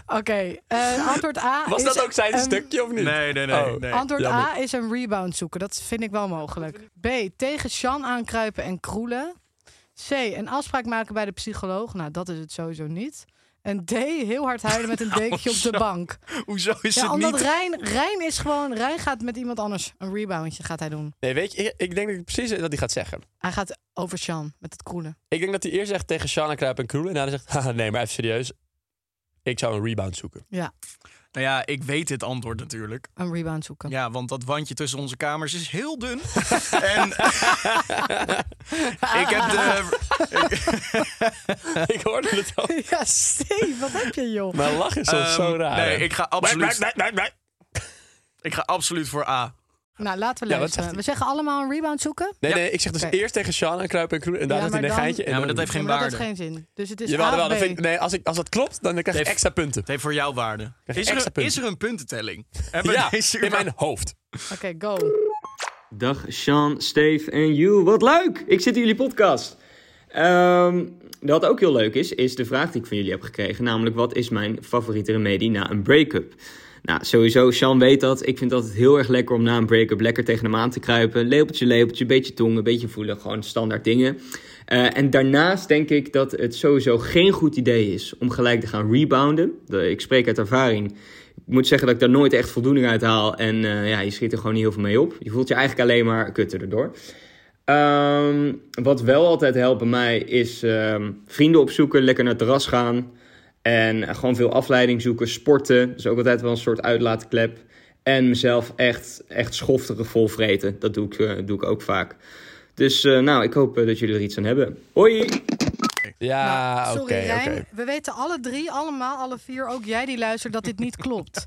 Speaker 3: Oké, eh, antwoord A
Speaker 2: Was
Speaker 3: is
Speaker 2: dat ook zijn
Speaker 3: een-
Speaker 2: stukje of niet?
Speaker 1: Nee, nee, nee,
Speaker 2: Oh.
Speaker 1: nee.
Speaker 3: Antwoord
Speaker 2: jammer.
Speaker 3: A is een rebound zoeken. Dat vind ik wel mogelijk. B, tegen Sjan aankruipen en kroelen. C, een afspraak maken bij de psycholoog. Nou, dat is het sowieso niet. En D, heel hard
Speaker 2: Oh,
Speaker 3: huilen met een dekentje op de bank.
Speaker 1: Hoezo is
Speaker 3: Ja,
Speaker 1: het
Speaker 3: omdat
Speaker 1: niet?
Speaker 3: Rijn, Rijn is gewoon... Rijn gaat met iemand anders een reboundje gaat hij doen.
Speaker 2: Nee, weet je, ik, ik denk dat ik precies weet wat hij gaat zeggen.
Speaker 3: Hij gaat over Sjan met het kroelen.
Speaker 2: Ik denk dat hij eerst zegt tegen Shana Kruip en Kroelen. En daarna zegt, haha, nee, maar even serieus. Ik zou een rebound zoeken.
Speaker 3: Ja,
Speaker 1: Nou ja, ik weet dit antwoord natuurlijk.
Speaker 3: een rebound zoeken.
Speaker 1: Ja, want dat wandje tussen onze kamers is heel dun. en ik heb de...
Speaker 2: ik hoorde het al.
Speaker 3: Ja, Steve, wat heb je, joh?
Speaker 2: Mijn lach is soms
Speaker 1: Ehm,
Speaker 2: zo raar.
Speaker 1: nee, ik ga absoluut-
Speaker 2: Nee, nee, nee, nee, nee.
Speaker 1: Ik ga absoluut voor A.
Speaker 3: Nou, laten we
Speaker 2: Ja, wat
Speaker 3: luisteren.
Speaker 2: zegt hij?
Speaker 3: we zeggen allemaal een rebound zoeken.
Speaker 2: Nee,
Speaker 1: Ja.
Speaker 2: nee, ik zeg dus
Speaker 3: Oké.
Speaker 2: eerst tegen Sean en Kruip en Kroen. En daar
Speaker 3: Ja,
Speaker 2: zit hij
Speaker 3: maar
Speaker 2: een
Speaker 3: dan-
Speaker 2: geintje. en
Speaker 1: Ja, maar
Speaker 2: dan-
Speaker 1: dat heeft geen
Speaker 3: Ja, maar dat
Speaker 1: waarde.
Speaker 3: heeft geen zin. Dus het is
Speaker 2: Jawel,
Speaker 3: A
Speaker 2: jawel,
Speaker 3: of
Speaker 2: dat
Speaker 3: B.
Speaker 2: vind ik- nee, als, ik, als dat klopt, dan krijg ik
Speaker 1: Dave-
Speaker 2: extra punten.
Speaker 1: Het heeft voor jou waarde.
Speaker 2: Krijg je
Speaker 1: Is er,
Speaker 2: extra
Speaker 1: een,
Speaker 2: punten.
Speaker 1: is er een puntentelling? Hebben
Speaker 2: Ja,
Speaker 1: deze
Speaker 2: in mijn
Speaker 1: überhaupt-
Speaker 2: hoofd.
Speaker 3: Oké, go.
Speaker 5: Dag Sean, Steve en Joe. Wat leuk! Ik zit in jullie podcast. Ehm, wat ook heel leuk is, is de vraag die ik van jullie heb gekregen. Namelijk, wat is mijn favoriete remedie na een break-up? Nou, sowieso, Sean weet dat. Ik vind het altijd heel erg lekker om na een break-up lekker tegen hem aan te kruipen. Lepeltje, lepeltje, beetje tongen, beetje voelen. Gewoon standaard dingen. Eh, en daarnaast denk ik dat het sowieso geen goed idee is om gelijk te gaan rebounden. De- Ik spreek uit ervaring. Ik moet zeggen dat ik daar nooit echt voldoening uit haal. En eh, ja, je schiet er gewoon niet heel veel mee op. Je voelt je eigenlijk alleen maar kutter erdoor. Ehm, wat wel altijd helpt bij mij is ehm, vrienden opzoeken, lekker naar het terras gaan. En eh, gewoon veel afleiding zoeken, sporten. Dat is ook altijd wel een soort uitlaatklep. En mezelf echt, echt schofterig volvreten. Dat doe ik, eh, doe ik ook vaak. Dus eh, nou, ik hoop eh, dat jullie er iets aan hebben. Hoi!
Speaker 2: Ja,
Speaker 3: Nou,
Speaker 2: Ah, oké,
Speaker 3: sorry,
Speaker 2: oké.
Speaker 3: Rijn. We weten alle drie, allemaal, alle vier, ook jij die luistert, dat dit niet klopt.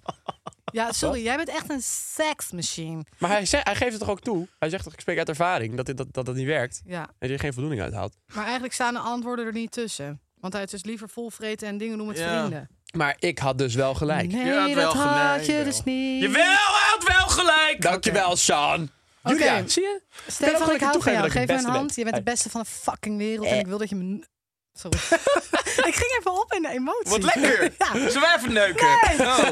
Speaker 3: Ja, sorry, jij bent echt een seksmachine.
Speaker 2: Maar hij, zegt, hij geeft het toch ook toe? Hij zegt toch, ik spreek uit ervaring, dat dit, dat, dat, dat niet werkt.
Speaker 3: Ja,
Speaker 2: En je er geen voldoening uit haalt.
Speaker 3: maar eigenlijk staan de antwoorden er niet tussen. Want hij is dus liever volvreten en dingen doen met
Speaker 1: Ja.
Speaker 3: vrienden.
Speaker 2: Maar ik had dus wel gelijk.
Speaker 3: Nee,
Speaker 1: Je had wel
Speaker 3: dat had
Speaker 1: gelijk,
Speaker 3: je
Speaker 1: wel.
Speaker 3: dus niet.
Speaker 1: Jawel, hij had wel gelijk!
Speaker 2: Dankjewel, Sean. Julia,
Speaker 3: Oké.
Speaker 2: zie je? Ik kan ook
Speaker 3: Stefan, ik
Speaker 2: lekker
Speaker 3: hou van
Speaker 2: toegeven dat
Speaker 3: jou.
Speaker 2: ik
Speaker 3: Geef
Speaker 2: de
Speaker 3: me
Speaker 2: beste
Speaker 3: een hand.
Speaker 2: ben.
Speaker 3: Je bent de
Speaker 2: Hey. Eh.
Speaker 3: beste van de fucking wereld. En ik wil dat je me... n- Sorry. ik ging even op in de emotie.
Speaker 1: Wat lekker!
Speaker 3: ja.
Speaker 1: Zullen wij even neuken? Oh.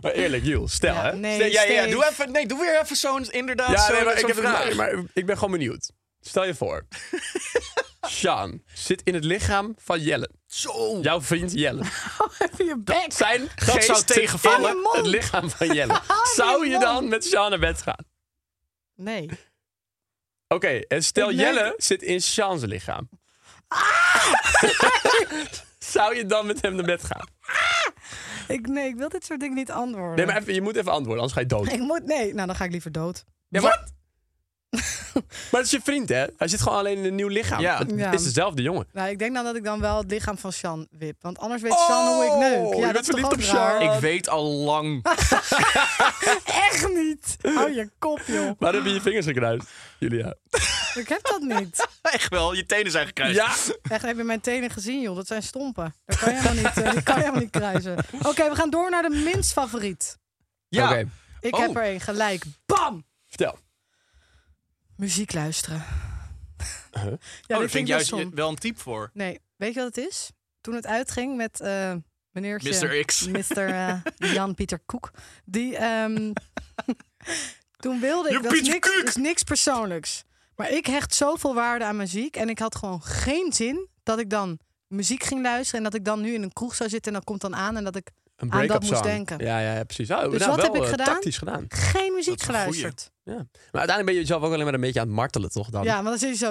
Speaker 2: Maar eerlijk, Jules, stel
Speaker 3: Ja,
Speaker 2: hè.
Speaker 3: nee,
Speaker 1: Nee, ja, ja,
Speaker 3: Steve.
Speaker 1: doe, even, nee, doe weer even zo'n inderdaad
Speaker 2: Ja,
Speaker 1: zo'n
Speaker 2: nee, maar
Speaker 1: zo'n
Speaker 2: ik, heb,
Speaker 1: vraag.
Speaker 2: nee, maar ik ben gewoon benieuwd. Stel je voor. Sean zit in het lichaam van Jelle.
Speaker 1: Zo!
Speaker 2: Jouw vriend Jelle.
Speaker 3: Even Oh, je bek.
Speaker 2: Zijn geest
Speaker 1: zou
Speaker 2: zit
Speaker 1: tegenvallen.
Speaker 2: in Het lichaam van Jelle. Zou je dan met Sean naar bed gaan?
Speaker 3: Nee.
Speaker 2: Oké, en stel
Speaker 3: Ik merk- Ah!
Speaker 2: Jelle zit in Sean's lichaam. Zou je dan met hem naar bed gaan?
Speaker 3: Ik, nee, ik wil dit soort dingen niet antwoorden.
Speaker 2: Nee, maar even, je moet even antwoorden, anders ga je dood.
Speaker 3: Ik moet... Nee, nou dan ga ik liever dood.
Speaker 2: Ja, maar... maar het is je vriend, hè? Hij zit gewoon alleen in een nieuw lichaam.
Speaker 1: Ja.
Speaker 2: Het
Speaker 3: Ja.
Speaker 2: is dezelfde jongen.
Speaker 3: Nou, ik denk dan dat ik dan wel het lichaam van Sjan wip. Want anders weet Sjan hoe
Speaker 1: Oh,
Speaker 3: ik neuk.
Speaker 2: je
Speaker 3: Ja,
Speaker 2: bent
Speaker 3: dat is toch
Speaker 2: verliefd
Speaker 3: ook
Speaker 2: op Sjan.
Speaker 3: raar?
Speaker 1: Ik weet al lang.
Speaker 3: Echt niet. Hou je kop, joh.
Speaker 2: Waar heb je je vingers gekruist, Julia?
Speaker 3: Ik heb dat niet.
Speaker 1: Echt wel, je tenen zijn gekruist.
Speaker 3: Oh,
Speaker 2: Ja!
Speaker 3: Echt, heb je mijn tenen gezien, joh? Dat zijn stompen. Dat kan je helemaal niet, eh, die kan je helemaal niet kruisen. Oké, we gaan door naar de minst favoriet.
Speaker 1: ja.
Speaker 2: Oké,
Speaker 3: Ik
Speaker 1: Oh.
Speaker 3: heb er één, gelijk. Bam!
Speaker 2: vertel.
Speaker 3: Muziek luisteren. Ja, dit
Speaker 1: oh, daar
Speaker 3: vind
Speaker 1: vind ik
Speaker 3: wel
Speaker 1: juist
Speaker 3: stom.
Speaker 1: wel een type voor.
Speaker 3: Nee, weet je wat het is? Toen het uitging met eh meneertje...
Speaker 1: Mr. X.
Speaker 3: Mr. eh, Jan-Pieter Koek. Die, ehm, toen wilde ik... Dat is
Speaker 1: Jan-Pieter
Speaker 3: niks,
Speaker 1: Koek!
Speaker 3: is niks persoonlijks. Maar ik hecht zoveel waarde aan muziek. En ik had gewoon geen zin dat ik dan muziek ging luisteren. En dat ik dan nu in een kroeg zou zitten. En dat komt dan aan. En dat ik
Speaker 2: Een
Speaker 3: aan
Speaker 2: break-up
Speaker 3: dat
Speaker 2: song.
Speaker 3: moest denken.
Speaker 2: Ja, ja, ja, precies. Oh,
Speaker 3: Dus
Speaker 2: nou,
Speaker 3: wat
Speaker 2: wel,
Speaker 3: heb ik
Speaker 2: eh,
Speaker 3: gedaan?
Speaker 2: tactisch gedaan.
Speaker 3: Geen muziek
Speaker 1: Dat is een goeie.
Speaker 3: geluisterd.
Speaker 2: Ja. Maar uiteindelijk ben je jezelf ook alleen maar een beetje aan het martelen, toch dan?
Speaker 3: Ja, want dan zit je zo...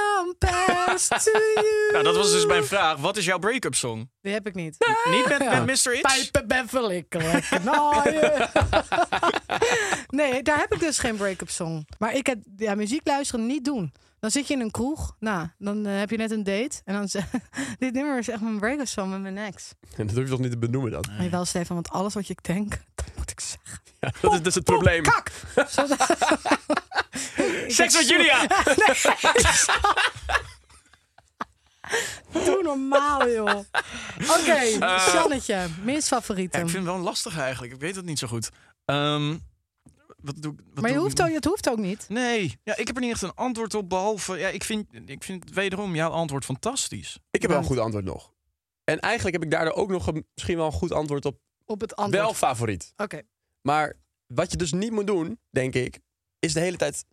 Speaker 3: compares to you.
Speaker 1: Nou, dat was dus mijn vraag. Wat is jouw break-up song?
Speaker 3: Die heb ik niet.
Speaker 1: Niet met, met Mr. X?
Speaker 3: Pijpen ben verlikkelijk. knaaien. nee, daar heb ik dus geen break-up song. Maar ik heb ja, muziek luisteren niet doen. Dan zit je in een kroeg. Nou, dan eh, heb je net een date. En dan ze- dit nummer is echt mijn break-up song met mijn ex.
Speaker 2: En dat hoef je toch niet te benoemen dan?
Speaker 3: Maar wel, Stefan, want alles wat ik denk, dat moet ik zeggen.
Speaker 2: Ja, dat is dus het probleem.
Speaker 3: Kak! Zo- Ik
Speaker 1: Seks
Speaker 3: heb
Speaker 1: met Julia!
Speaker 3: zo- Doe normaal, joh. Oké,
Speaker 2: Eh.
Speaker 3: Jannetje, minst favorieten.
Speaker 1: Ja, ik vind het wel een lastig eigenlijk. Ik weet het niet zo goed. Ehm, wat doe, ik- wat
Speaker 3: maar je
Speaker 1: doe ik
Speaker 3: hoeft ook, het hoeft ook niet.
Speaker 1: Nee, ja, ik heb er niet echt een antwoord op, behalve... Ja, ik, vind, ik vind wederom jouw antwoord fantastisch.
Speaker 2: Ik heb wel een goed antwoord nog. En eigenlijk heb ik daardoor ook nog een- misschien wel een goed antwoord op
Speaker 3: Op het antwoord.
Speaker 2: wel favoriet.
Speaker 3: Oké.
Speaker 2: Maar wat je dus niet moet doen, denk ik, is de hele tijd...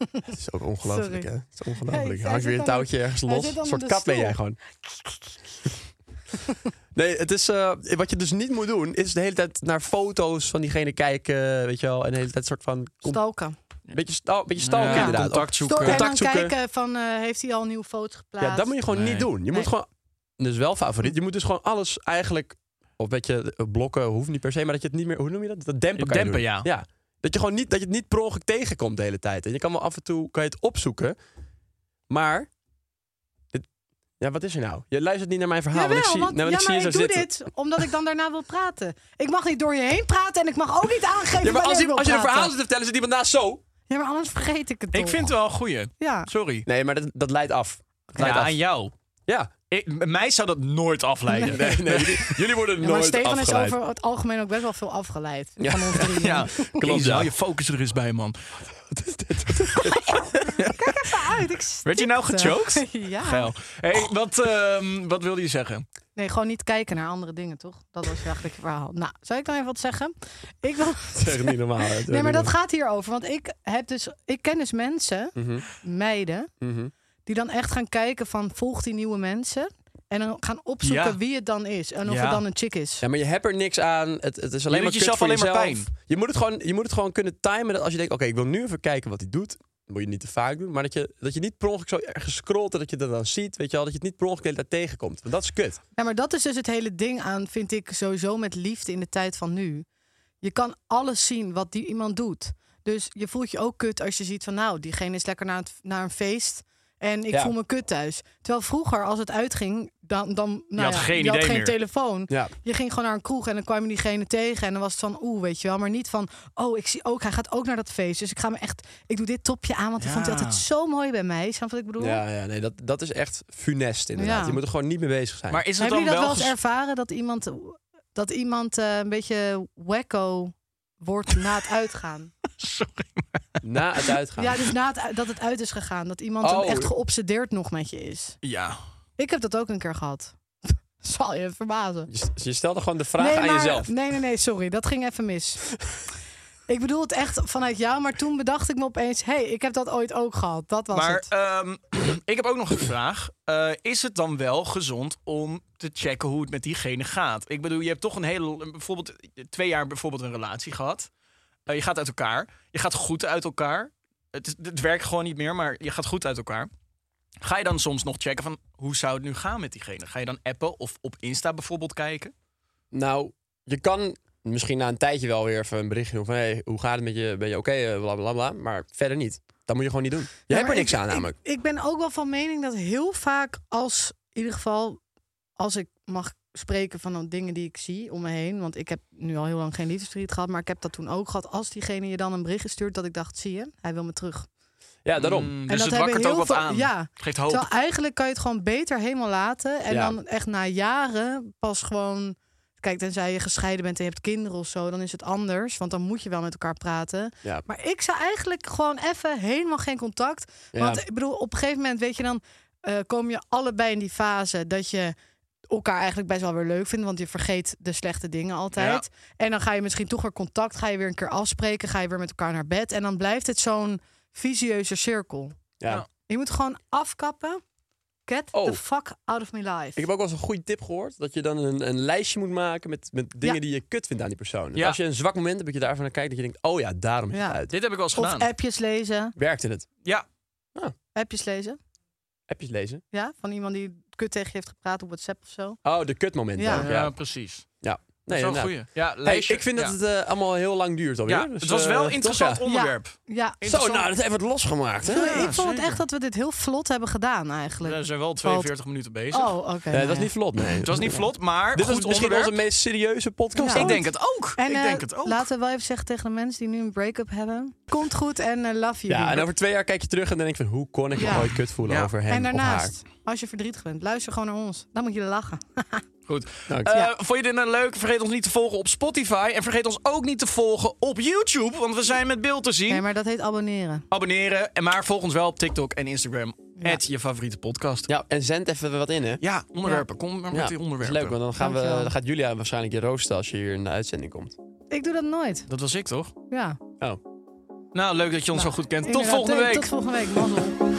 Speaker 2: Het is ook ongelooflijk,
Speaker 3: Sorry.
Speaker 2: hè? Het is ongelooflijk. Hak
Speaker 3: Hey, hij
Speaker 2: weer
Speaker 3: zit
Speaker 2: een
Speaker 3: dan-
Speaker 2: touwtje ergens
Speaker 3: hij
Speaker 2: los.
Speaker 3: zit
Speaker 2: Een
Speaker 3: dan
Speaker 2: soort
Speaker 3: in de
Speaker 2: kat ben
Speaker 3: stoel.
Speaker 2: jij gewoon. Nee, het is, eh, wat je dus niet moet doen, is de hele tijd naar foto's van diegene kijken, weet je wel. En de hele tijd soort van... Kom,
Speaker 3: Stalken.
Speaker 2: beetje, stal, beetje stalken,
Speaker 1: Ja,
Speaker 2: inderdaad.
Speaker 1: Contact zoeken.
Speaker 3: Stor- en dan
Speaker 2: Contact zoeken.
Speaker 3: kijken van, eh, heeft hij al nieuwe foto's geplaatst?
Speaker 2: Ja, dat moet je gewoon
Speaker 1: Nee.
Speaker 2: niet doen. Je
Speaker 3: Nee.
Speaker 2: moet gewoon, dus wel favoriet, je moet dus gewoon alles eigenlijk, of weet je, eh, blokken hoeft niet per se, maar dat je het niet meer, hoe noem je dat? Dat dempen kan je
Speaker 1: Dempen,
Speaker 2: doen.
Speaker 1: ja.
Speaker 2: Dat je gewoon niet, dat je het niet per ongeluk tegenkomt de hele tijd. En je kan wel af en toe, kan je het opzoeken, maar het, Ja, wat is er nou? Je luistert niet naar mijn verhaal,
Speaker 3: Jawel,
Speaker 2: want ik zie,
Speaker 3: want,
Speaker 2: nou, want
Speaker 3: ja,
Speaker 2: ik zie
Speaker 3: maar
Speaker 2: je
Speaker 3: ik
Speaker 2: zo
Speaker 3: doe
Speaker 2: zitten.
Speaker 3: dit omdat ik dan daarna wil praten. Ik mag niet door je heen praten en ik mag ook niet aangeven
Speaker 2: Ja, maar als,
Speaker 3: wanneer ik
Speaker 2: je-
Speaker 3: wil
Speaker 2: als je een
Speaker 3: praten.
Speaker 2: verhaal zit te vertellen, zit iemand naast zo.
Speaker 3: Ja, maar anders vergeet ik het toch.
Speaker 1: Ik vind het wel een goeie.
Speaker 3: Ja.
Speaker 1: Sorry.
Speaker 2: Nee, maar dat, dat leidt af. Dat
Speaker 1: Ja,
Speaker 2: leidt af.
Speaker 1: aan jou.
Speaker 2: Ja.
Speaker 1: Ik, mij zou dat nooit afleiden.
Speaker 2: Nee, nee, jullie, jullie worden
Speaker 3: Ja, maar
Speaker 2: nooit
Speaker 3: Stefan
Speaker 2: afgeleid.
Speaker 3: is over het algemeen ook best wel veel afgeleid.
Speaker 2: Ja.
Speaker 3: Van ons drieën.
Speaker 1: Ja, klopt.
Speaker 2: ja.
Speaker 1: Hou je focus er eens bij, man.
Speaker 3: Kijk even uit. Ik
Speaker 1: Werd je nou
Speaker 3: stikte.
Speaker 1: gechoked?
Speaker 3: ja.
Speaker 1: Geil. Hey, wat, ehm, wat wilde je zeggen?
Speaker 3: Nee, gewoon niet kijken naar andere dingen, toch? Dat was eigenlijk je verhaal. Nou, zou ik dan even wat zeggen? Ik wil...
Speaker 2: Dat is echt niet normaal. hè. is
Speaker 3: Nee,
Speaker 2: echt
Speaker 3: maar dat
Speaker 2: niet
Speaker 3: gaat hier over. Want ik heb dus... Ik ken dus mensen, meiden,
Speaker 2: Mhm.
Speaker 3: die dan echt gaan kijken van... Volg die nieuwe mensen? En dan gaan opzoeken
Speaker 1: Ja.
Speaker 3: wie het dan is. En of
Speaker 1: Ja.
Speaker 3: het dan een chick is.
Speaker 2: Ja, maar je hebt er niks aan. Het, het is alleen
Speaker 1: doet
Speaker 2: maar kut
Speaker 1: jezelf
Speaker 2: voor
Speaker 1: alleen maar
Speaker 2: jezelf.
Speaker 1: pijn.
Speaker 2: Je moet, het gewoon, je moet het gewoon kunnen timen. Dat als je denkt, oké, ik wil nu even kijken wat hij doet. Dat moet je niet te vaak doen. Maar dat je, dat je niet per ongeluk zo ergens scrolt en dat je dat dan ziet. Weet je wel, dat je het niet per ongeluk de hele tijd tegenkomt. Want dat is kut.
Speaker 3: Ja, maar dat is dus het hele ding aan, vind ik, sowieso met liefde in de tijd van nu. Je kan alles zien wat die iemand doet. Dus je voelt je ook kut als je ziet van, nou, diegene is lekker naar, het- naar een feest en ik
Speaker 2: Ja.
Speaker 3: voel me kut thuis. Terwijl vroeger, als het uitging, dan, dan nou
Speaker 1: had
Speaker 3: ja,
Speaker 1: geen
Speaker 3: je had
Speaker 1: idee
Speaker 3: geen
Speaker 1: meer.
Speaker 3: telefoon.
Speaker 2: Ja.
Speaker 3: Je ging gewoon naar een kroeg en dan kwam je diegene tegen en dan was het van, oeh, weet je wel. Maar niet van, oh, ik zie ook, hij gaat ook naar dat feest. Dus ik ga me echt, ik doe dit topje aan, want ik vond het altijd zo mooi bij mij. Snap je wat ik bedoel?
Speaker 2: Ja, ja nee, dat, dat is echt funest inderdaad.
Speaker 3: Ja.
Speaker 2: Je moet er gewoon niet mee bezig zijn.
Speaker 1: Maar is het
Speaker 3: Hebben
Speaker 1: dan
Speaker 3: jullie dat
Speaker 1: wel...
Speaker 3: wel eens
Speaker 1: ges-
Speaker 3: ervaren dat iemand, dat iemand eh, een beetje wacko wordt na het uitgaan?
Speaker 2: Na het uitgaan.
Speaker 3: ja, dus na het, u- dat het uit is gegaan. Dat iemand dan
Speaker 2: Oh.
Speaker 3: echt geobsedeerd nog met je is.
Speaker 1: Ja.
Speaker 3: Ik heb dat ook een keer gehad. Zal je verbazen.
Speaker 2: Je, je stelde gewoon de vraag
Speaker 3: nee,
Speaker 2: aan
Speaker 3: maar-
Speaker 2: jezelf.
Speaker 3: Nee, nee, nee, sorry. Dat ging even mis. ik bedoel het echt vanuit jou, maar toen bedacht ik me opeens... hé, hey, ik heb dat ooit ook gehad. Dat was
Speaker 1: Maar
Speaker 3: het.
Speaker 1: ehm, ik heb ook nog een vraag. Eh, is het dan wel gezond om te checken hoe het met diegene gaat? Ik bedoel, je hebt toch een hele... Bijvoorbeeld twee jaar bijvoorbeeld een relatie gehad. Eh, je gaat uit elkaar. Je gaat goed uit elkaar. Het, is- het werkt gewoon niet meer, maar je gaat goed uit elkaar. Ga je dan soms nog checken van hoe zou het nu gaan met diegene? Ga je dan appen of op Insta bijvoorbeeld kijken?
Speaker 2: Nou, je kan misschien na een tijdje wel weer even een berichtje doen van... Hey, hoe gaat het met je? Ben je oké? Eh, bla, bla, bla. Maar verder niet. Dat moet je gewoon niet doen. Je
Speaker 3: Ja,
Speaker 2: hebt er
Speaker 3: maar
Speaker 2: niks
Speaker 3: ik-
Speaker 2: aan
Speaker 3: ik-
Speaker 2: namelijk.
Speaker 3: Ik, ben ook wel van mening dat heel vaak als, in ieder geval, als ik mag spreken van de dingen die ik zie om me heen. Want ik heb nu al heel lang geen liefdesverdriet gehad, maar ik heb dat toen ook gehad. Als diegene je dan een berichtje stuurt, dat ik dacht, zie je, hij wil me terug.
Speaker 2: Ja, daarom.
Speaker 1: Mm,
Speaker 3: dat
Speaker 1: dus het
Speaker 3: hebben
Speaker 1: wakkert
Speaker 3: heel
Speaker 1: ook wat
Speaker 3: veel-
Speaker 1: aan.
Speaker 3: ja.
Speaker 1: Het geeft hoop.
Speaker 3: Terwijl eigenlijk kan je het gewoon beter helemaal laten. En
Speaker 2: Ja.
Speaker 3: dan echt na jaren pas gewoon... Kijk, tenzij je gescheiden bent en je hebt kinderen of zo, dan is het anders. Want dan moet je wel met elkaar praten.
Speaker 2: Ja.
Speaker 3: Maar ik zou eigenlijk gewoon even helemaal geen contact.
Speaker 2: Ja.
Speaker 3: Want ik bedoel, op een gegeven moment weet je dan... eh, kom je allebei in die fase dat je elkaar eigenlijk best wel weer leuk vindt. Want je vergeet de slechte dingen altijd. En dan ga je misschien toch weer contact, ga je weer een keer afspreken... ga je weer met elkaar naar bed. En dan blijft het zo'n visieuze cirkel.
Speaker 2: Ja.
Speaker 1: Ja.
Speaker 3: Je moet gewoon afkappen. Get
Speaker 2: Oh.
Speaker 3: the fuck out of my life.
Speaker 2: Ik heb ook wel eens een goede tip gehoord. Dat je dan een, een lijstje moet maken met, met dingen die je kut vindt aan die persoon. En
Speaker 1: Ja.
Speaker 2: Als je een zwak moment hebt, dat je daarvan naar kijkt. Dat je denkt, oh ja, daarom is
Speaker 3: Ja.
Speaker 2: het uit.
Speaker 1: Dit heb ik wel eens
Speaker 3: of
Speaker 1: gedaan.
Speaker 3: appjes lezen.
Speaker 2: Werkte het?
Speaker 1: Ja,
Speaker 3: Appjes lezen.
Speaker 2: Appjes lezen?
Speaker 3: Ja, van iemand die kut tegen je heeft gepraat op WhatsApp of zo.
Speaker 2: Oh, de kutmomenten.
Speaker 3: Ja.
Speaker 2: ook,
Speaker 1: ja,
Speaker 2: Ja.
Speaker 1: precies.
Speaker 2: ja.
Speaker 1: Dat is wel een
Speaker 2: inderdaad.
Speaker 1: goeie. Ja,
Speaker 2: Hey,
Speaker 1: lijstje.
Speaker 2: ik vind dat
Speaker 1: Ja.
Speaker 2: het eh, allemaal heel lang duurt alweer.
Speaker 1: Ja,
Speaker 2: Dus,
Speaker 1: het was wel
Speaker 2: eh,
Speaker 1: een interessant
Speaker 2: toch,
Speaker 1: onderwerp.
Speaker 3: Ja.
Speaker 2: ja.
Speaker 1: on-
Speaker 2: Zo, nou, dat heeft wat losgemaakt, hè?
Speaker 3: Sorry, ik vond
Speaker 1: zeker.
Speaker 3: het echt dat we dit heel vlot hebben gedaan eigenlijk.
Speaker 1: We zijn wel
Speaker 3: Valt-
Speaker 1: 42 minuten bezig.
Speaker 3: Oh, oké.
Speaker 2: Nee,
Speaker 3: nou
Speaker 2: dat is
Speaker 3: ja.
Speaker 2: niet vlot, nee.
Speaker 1: Het was niet vlot, maar
Speaker 2: Dit
Speaker 1: goed
Speaker 2: is misschien
Speaker 1: onderwerp.
Speaker 2: onze meest serieuze podcast.
Speaker 3: Ja.
Speaker 1: Ik
Speaker 2: ooit.
Speaker 1: denk het ook.
Speaker 3: En
Speaker 1: ik
Speaker 3: eh,
Speaker 1: denk het ook.
Speaker 3: laten we wel even zeggen tegen de mensen die nu een break-up hebben. Komt goed en eh, love you.
Speaker 2: Ja, en over twee jaar kijk je terug en dan denk je van... hoe kon ik me
Speaker 3: Ja.
Speaker 2: ooit kut voelen
Speaker 1: Ja.
Speaker 2: over hem of
Speaker 3: daarnaast, als je verdrietig bent, luister gewoon naar ons. Dan moet je lachen.
Speaker 1: Goed.
Speaker 2: Dank.
Speaker 1: Eh, Vond je dit nou leuk? Vergeet ons niet te volgen op Spotify. En vergeet ons ook niet te volgen op YouTube. Want we zijn met beeld te zien.
Speaker 3: Nee, maar dat heet abonneren.
Speaker 1: Abonneren. En maar volg ons wel op TikTok en Instagram. Het je favoriete podcast.
Speaker 2: haar? Ja, en zend even wat in, hè?
Speaker 1: Ja, onderwerpen. Kom maar met
Speaker 2: Ja,
Speaker 1: die
Speaker 2: dat is
Speaker 1: onderwerpen.
Speaker 2: leuk, want dan, gaan we,
Speaker 3: Dankjewel.
Speaker 2: dan gaat Julia waarschijnlijk je roosten als je hier in de uitzending komt.
Speaker 3: Ik doe dat nooit.
Speaker 1: Dat was ik toch?
Speaker 3: Ja.
Speaker 2: Oh.
Speaker 1: Nou, leuk dat je ons zo goed kent. Tot
Speaker 3: Inderdaad,
Speaker 1: volgende
Speaker 3: nee,
Speaker 1: week.
Speaker 3: Tot volgende week, mazzel.